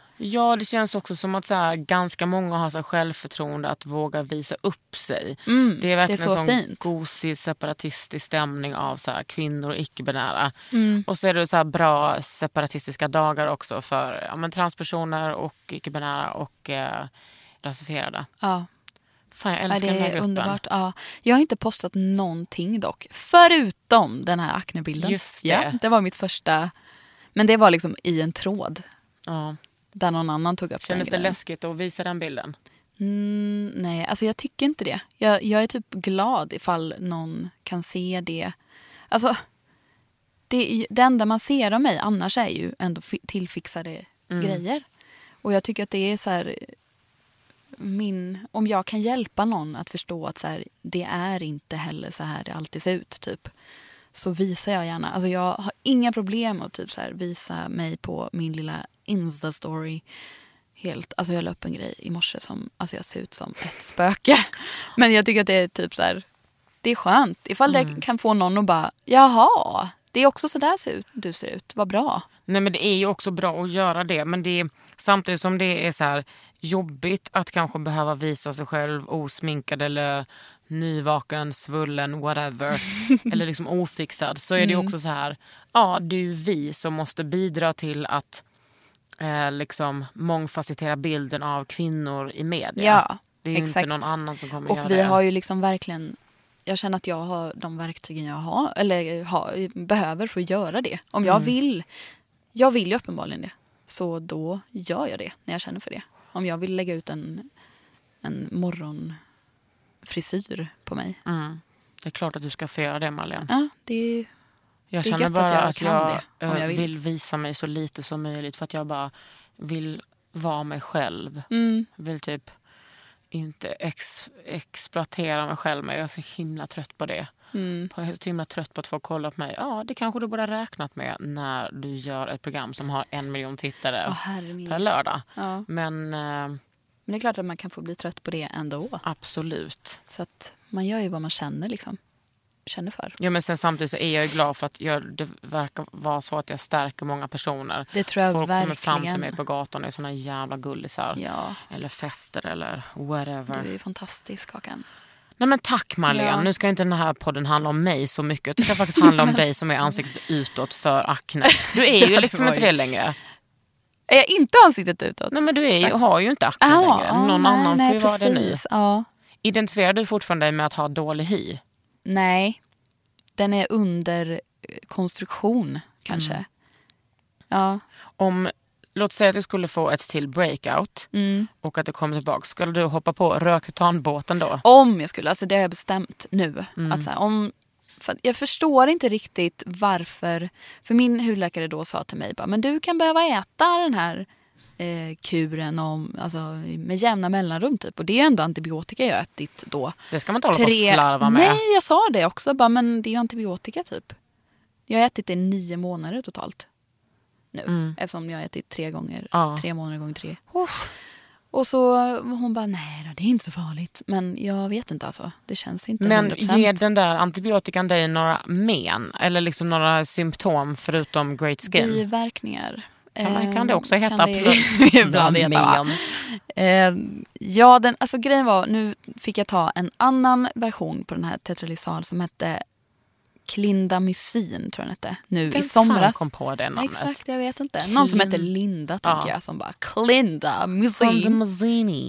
Speaker 1: det känns också som att så här, ganska många har så här självförtroende att våga visa upp sig.
Speaker 4: Mm,
Speaker 1: Det är verkligen
Speaker 4: så
Speaker 1: en sån
Speaker 4: fint.
Speaker 1: gosig separatistisk stämning av så här, kvinnor och icke-binära.
Speaker 4: Mm.
Speaker 1: Och så är det så här bra separatistiska dagar också för ja, men, transpersoner och icke-binära och eh, rasifierade.
Speaker 4: Ja,
Speaker 1: Fan, jag
Speaker 4: ja,
Speaker 1: älskar
Speaker 4: det
Speaker 1: den här
Speaker 4: är
Speaker 1: gruppen.
Speaker 4: underbart. Ja. Jag har inte postat någonting dock. Förutom den här aknebilden.
Speaker 1: Just det.
Speaker 4: Ja, det var mitt första. Men det var liksom i en tråd.
Speaker 1: Ja.
Speaker 4: Där någon annan tog upp
Speaker 1: Kändes
Speaker 4: den
Speaker 1: det
Speaker 4: grejen.
Speaker 1: läskigt att visa den bilden?
Speaker 4: Mm, nej, alltså jag tycker inte det. Jag, jag är typ glad ifall någon kan se det. Alltså, det, är ju- det enda man ser av mig annars är ju ändå fi- tillfixade grejer. Och jag tycker att det är så här... Min, om jag kan hjälpa någon att förstå att så här, det är inte heller så här det alltid ser ut, typ. Så visar jag gärna. Alltså jag har inga problem med att typ så här, visa mig på min lilla Insta-story helt, alltså jag la upp en grej i morse som, alltså jag ser ut som ett spöke. (laughs) Men jag tycker att det är typ så här, det är skönt. Ifall det kan få någon att bara, jaha, det är också så där ser ut, du ser ut, vad bra.
Speaker 1: Nej men det är ju också bra att göra det men det är, samtidigt som det är så här jobbigt att kanske behöva visa sig själv osminkad eller nyvaken, svullen,
Speaker 4: (laughs)
Speaker 1: whatever. eller liksom ofixad. Så är
Speaker 4: Mm.
Speaker 1: det ju också så här, ja det är ju vi som måste bidra till att eh, liksom mångfacettera bilden av kvinnor i media.
Speaker 4: Ja,
Speaker 1: det är ju
Speaker 4: exakt.
Speaker 1: inte någon annan som kommer göra
Speaker 4: Och vi
Speaker 1: det.
Speaker 4: har ju liksom verkligen, jag känner att jag har de verktygen jag har, eller har, behöver för att göra det. Om
Speaker 1: Mm.
Speaker 4: jag vill, jag vill ju uppenbarligen det. Så då gör jag det när jag känner för det. Om jag vill lägga ut en, en morgonfrisyr på mig.
Speaker 1: mm. Det är klart att du ska få göra det Marlene.
Speaker 4: Ja, det är
Speaker 1: Jag
Speaker 4: Det är
Speaker 1: känner
Speaker 4: gött att
Speaker 1: bara
Speaker 4: jag
Speaker 1: att
Speaker 4: kan
Speaker 1: jag,
Speaker 4: det, om
Speaker 1: eh,
Speaker 4: jag
Speaker 1: vill.
Speaker 4: vill.
Speaker 1: visa mig så lite som möjligt för att jag bara vill vara mig själv.
Speaker 4: Mm.
Speaker 1: Vill typ inte ex, exploatera mig själv men jag är så himla trött på det.
Speaker 4: Mm.
Speaker 1: Jag är så himla trött på att folk kollar på mig. Ja, det kanske du borde ha räknat med när du gör ett program som har en miljon tittare
Speaker 4: Åh, herre min.
Speaker 1: per lördag.
Speaker 4: Ja.
Speaker 1: Men eh,
Speaker 4: Men det är klart att man kan få bli trött på det ändå.
Speaker 1: absolut.
Speaker 4: Så att man gör ju vad man känner liksom. Känner för.
Speaker 1: Ja, men sen samtidigt så är jag ju glad för att jag, det verkar vara så att jag stärker många personer.
Speaker 4: Det tror jag
Speaker 1: Folk kommer
Speaker 4: verkligen.
Speaker 1: fram till mig på gatan och är såna jävla gullisar.
Speaker 4: Ja,
Speaker 1: Eller fester eller
Speaker 4: du
Speaker 1: whatever.
Speaker 4: är ju fantastisk Kakan.
Speaker 1: Nej men tack Marlene.
Speaker 4: Ja.
Speaker 1: Nu ska inte den här podden handla om mig så mycket. Det ska faktiskt handla
Speaker 4: (laughs)
Speaker 1: om dig som är ansiktet utåt för akne. Du är ju
Speaker 4: det
Speaker 1: liksom
Speaker 4: var
Speaker 1: inte
Speaker 4: ju-
Speaker 1: det längre.
Speaker 4: Är jag inte ansiktet utåt?
Speaker 1: Nej men du är ju, har ju inte akne
Speaker 4: Ah,
Speaker 1: längre.
Speaker 4: ah,
Speaker 1: Någon
Speaker 4: nej,
Speaker 1: annan
Speaker 4: nej,
Speaker 1: får ju vara det nu.
Speaker 4: precis. Ja.
Speaker 1: Identifierar du fortfarande dig med att ha dålig hy?
Speaker 4: Nej, den är under eh, konstruktion kanske.
Speaker 1: Mm.
Speaker 4: Ja,
Speaker 1: Om, låt säga att du skulle få ett till breakout
Speaker 4: mm.
Speaker 1: och att det kommer tillbaka. Skulle du hoppa på röktanbåten då?
Speaker 4: Om jag skulle, alltså det har jag bestämt nu.
Speaker 1: Mm.
Speaker 4: Att så här, om, för att jag förstår inte riktigt varför, för min hudläkare då sa till mig bara, men du kan behöva äta den här eh, kuren om, alltså, med jämna mellanrum typ. Och det är ju ändå antibiotika jag har ätit då.
Speaker 1: Det ska man inte hålla på och slarva med.
Speaker 4: Nej, jag sa det också, bara, men det är ju antibiotika typ. Jag har ätit det i nio månader totalt nu. Eftersom jag har ätit tre gånger,
Speaker 1: Mm. Ja.
Speaker 4: tre månader gånger tre. Och så hon bara, nej då, det är inte så farligt. Men jag vet inte alltså. Det känns inte
Speaker 1: Men
Speaker 4: 100%.
Speaker 1: ger den där antibiotikan dig några men eller liksom några symptom förutom great skin?
Speaker 4: Biverkningar.
Speaker 1: Kan,
Speaker 4: Ehm,
Speaker 1: kan det också heta
Speaker 4: kan det- (laughs)
Speaker 1: plötsligt?
Speaker 4: ibland
Speaker 1: några
Speaker 4: heta, va?
Speaker 1: men?
Speaker 4: Eh, ja, den, alltså grejen var, nu fick jag ta en annan version på den här tetralysal som hette Klindamycin, tror jag den hette, nu
Speaker 1: Vem
Speaker 4: i somras.
Speaker 1: fan kom på det namnet?
Speaker 4: Exakt, jag vet inte. Någon som
Speaker 1: Klin-
Speaker 4: hette Linda,
Speaker 1: Ja.
Speaker 4: tänker jag, som bara Klindamycin. (laughs)
Speaker 1: Sandemazzini.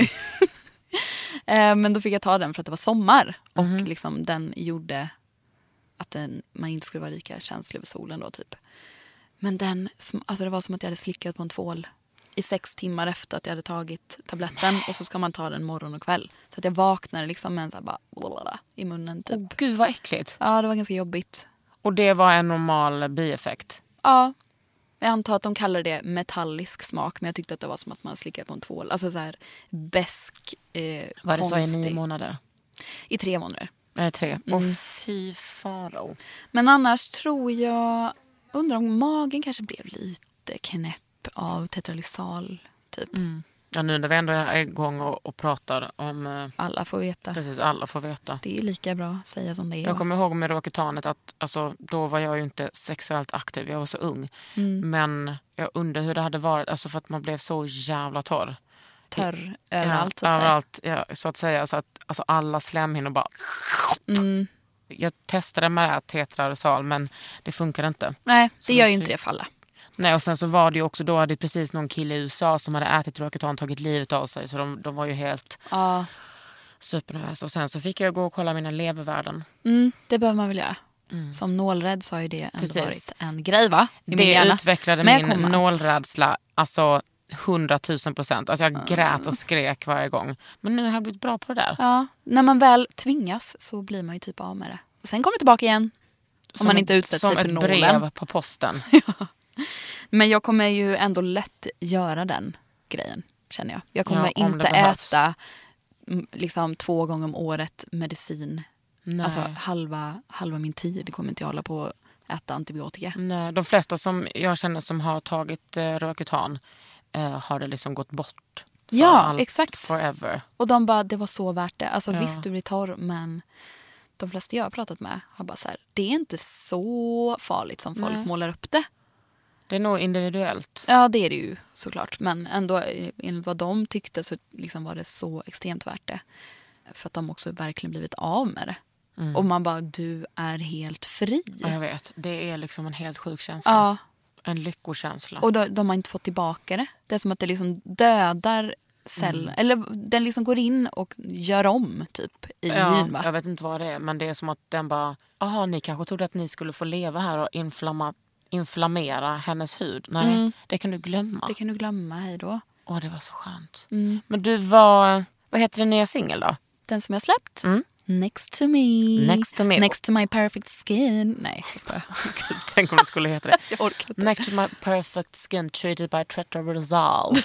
Speaker 4: Eh, men då fick jag ta den för att det var sommar och
Speaker 1: Mhm.
Speaker 4: liksom den gjorde att den, man inte skulle vara lika känslig för solen då, typ. Men den, som- alltså det var som att jag hade slickat på en tvål i sex timmar efter att jag hade tagit tabletten och så ska man ta den morgon och kväll. Så att jag vaknade liksom med en så här bara blablabla i munnen typ.
Speaker 1: Åh, Gud vad äckligt.
Speaker 4: Ja, det var ganska jobbigt.
Speaker 1: Och det var en normal bieffekt.
Speaker 4: Ja, jag antar att de kallar det metallisk smak men jag tyckte att det var som att man slickade på en tvål. Alltså så här besk, eh,
Speaker 1: Var det så i
Speaker 4: konstig. Mm.
Speaker 1: nio månader?
Speaker 4: I tre månader.
Speaker 1: Eller tre? Och fy faro.
Speaker 4: Men annars tror jag... Undrar om magen kanske blev lite knäpp av tetralysal. Typ.
Speaker 1: Ja, nu när vi ändå är igång och, och pratar om... eh,
Speaker 4: Alla får veta.
Speaker 1: Precis, alla får veta.
Speaker 4: Ah. Det är lika bra att säga som det är.
Speaker 1: Jag kommer ihåg med Råketanet att alltså, då var jag ju inte sexuellt aktiv, jag var så ung.
Speaker 4: mm.
Speaker 1: Men jag undrar hur det hade varit, alltså för att man blev så jävla torr.
Speaker 4: Törr överallt så
Speaker 1: ja,
Speaker 4: att säga.
Speaker 1: överallt, ja, så att säga. Så att, alltså, alla slemhinnor bara...
Speaker 4: Mm.
Speaker 1: Jag testade med det här tetrarosal men det funkade inte.
Speaker 4: Nej, det
Speaker 1: Som
Speaker 4: gör
Speaker 1: en
Speaker 4: ju
Speaker 1: fyr.
Speaker 4: inte det för alla.
Speaker 1: Nej, och sen så var det ju också, då hade precis någon kille i USA som hade ätit Roaketan tagit livet av sig. Så de, de var ju helt
Speaker 4: Ja.
Speaker 1: supernervösa. Och sen så fick jag gå och kolla mina levervärden.
Speaker 4: Mm, det behöver man väl göra. Som nålrädd så har ju det ändå
Speaker 1: Mm. Precis.
Speaker 4: varit en grej va? I min
Speaker 1: det
Speaker 4: hjärna.
Speaker 1: utvecklade
Speaker 4: Men jag
Speaker 1: min
Speaker 4: kommer att-
Speaker 1: nålrädsla, alltså 100 000 procent. Alltså jag grät
Speaker 4: Mm.
Speaker 1: och skrek varje gång. Men nu har jag blivit bra på det där.
Speaker 4: Ja, när man väl tvingas så blir man ju typ av med det. Och sen kommer det tillbaka igen. Om man inte utsätts
Speaker 1: som
Speaker 4: sig för
Speaker 1: ett
Speaker 4: nålen.
Speaker 1: brev på
Speaker 4: (laughs)
Speaker 1: posten.
Speaker 4: Men jag kommer ju ändå lätt göra den grejen känner jag. Jag kommer
Speaker 1: Ja, om
Speaker 4: inte
Speaker 1: det behövs.
Speaker 4: äta mm, liksom två gånger om året medicin.
Speaker 1: Nej.
Speaker 4: Alltså halva, halva min tid kommer inte jag hålla på att äta antibiotika.
Speaker 1: Nej, de flesta som jag känner som har tagit eh, Roaketan eh, har det liksom gått bort. för
Speaker 4: Ja,
Speaker 1: allt
Speaker 4: exakt.
Speaker 1: Forever.
Speaker 4: Och de bara, det var så värt det. Alltså
Speaker 1: Ja.
Speaker 4: visst du blir torr men de flesta jag har pratat med har bara så här, det är inte så farligt som folk
Speaker 1: Nej.
Speaker 4: målar upp det.
Speaker 1: Det är nog individuellt.
Speaker 4: Ja det är det ju såklart men ändå eh, enligt vad de tyckte så liksom var det så extremt värt det. För att de också verkligen blivit av med det. Och man bara, du är helt fri.
Speaker 1: Mm. Ja, jag vet. Det är liksom en helt sjuk känsla.
Speaker 4: Ja,
Speaker 1: En lyckokänsla.
Speaker 4: och de, de har inte fått tillbaka det. Det är som att det liksom dödar
Speaker 1: Mm.
Speaker 4: cellen. Eller den liksom går in och gör om typ i
Speaker 1: ja,
Speaker 4: hyn va?
Speaker 1: jag vet inte vad det är, men det är som att den bara... Jaha, ni kanske trodde att ni skulle få leva här och inflamma, inflammera hennes hud. Nej, det kan du glömma.
Speaker 4: Mm. Det kan du glömma, hej då.
Speaker 1: Åh, det var så skönt. Men du, var, vad heter din nya singel då?
Speaker 4: Den som jag släppt?
Speaker 1: Mm.
Speaker 4: Next to me.
Speaker 1: Next to me.
Speaker 4: Next to my perfect skin. Nej, jag skojar.
Speaker 1: (laughs) Gud, Tänk om det skulle heta det.
Speaker 4: Jag orkar inte.
Speaker 1: Next to my perfect skin treated by Tretrorazal.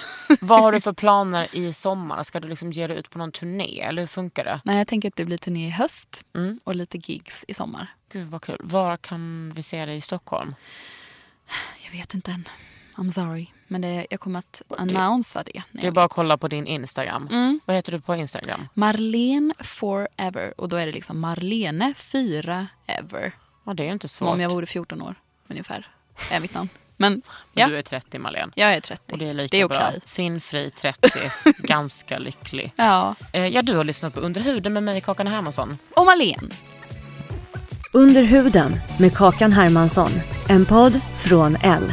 Speaker 1: Vad har du för planer i sommar? Ska du liksom ge dig ut på någon turné eller hur funkar det?
Speaker 4: Nej, jag tänker att det blir turné i höst
Speaker 1: Mm.
Speaker 4: och lite gigs i sommar.
Speaker 1: Gud vad kul. Var kan vi se dig i Stockholm?
Speaker 4: Jag vet inte än. I'm sorry. Men det, jag kommer att annonsa det.
Speaker 1: Det
Speaker 4: när
Speaker 1: är
Speaker 4: jag
Speaker 1: bara
Speaker 4: vet.
Speaker 1: att kolla på din Instagram.
Speaker 4: Mm.
Speaker 1: Vad heter du på Instagram?
Speaker 4: Marlene forever. Och då är det liksom Marlene 4 ever.
Speaker 1: Ja, det är ju inte svårt.
Speaker 4: Som om jag vore 14 år ungefär. Är mitt namn. Men
Speaker 1: Men
Speaker 4: ja,
Speaker 1: Du är 30 Malin.
Speaker 4: jag är 30.
Speaker 1: Och det är lika
Speaker 4: det är
Speaker 1: bra.
Speaker 4: okej.
Speaker 1: Finfri 30, (laughs) ganska lycklig.
Speaker 4: Ja.
Speaker 1: Eh, ja, du har lyssnat på Under huden med mig, Kakan Hermansson.
Speaker 4: Och Marlene.
Speaker 2: Under huden med Kakan Hermansson. En podd från L.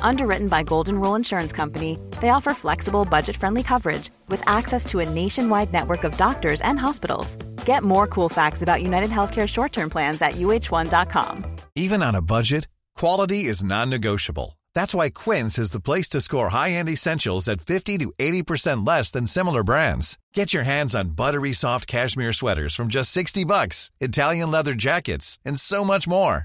Speaker 6: Underwritten by Golden Rule Insurance Company, they offer flexible, budget friendly coverage with access to a nationwide network of doctors and hospitals. Get more cool facts about United Healthcare short term plans at uh1.com.
Speaker 7: Even on a budget, quality is non-negotiable. That's why Quince is the place to score high-end essentials at 50 to 80% less than similar brands. Get your hands on buttery soft cashmere sweaters from just 60 bucks, Italian leather jackets, and so much more.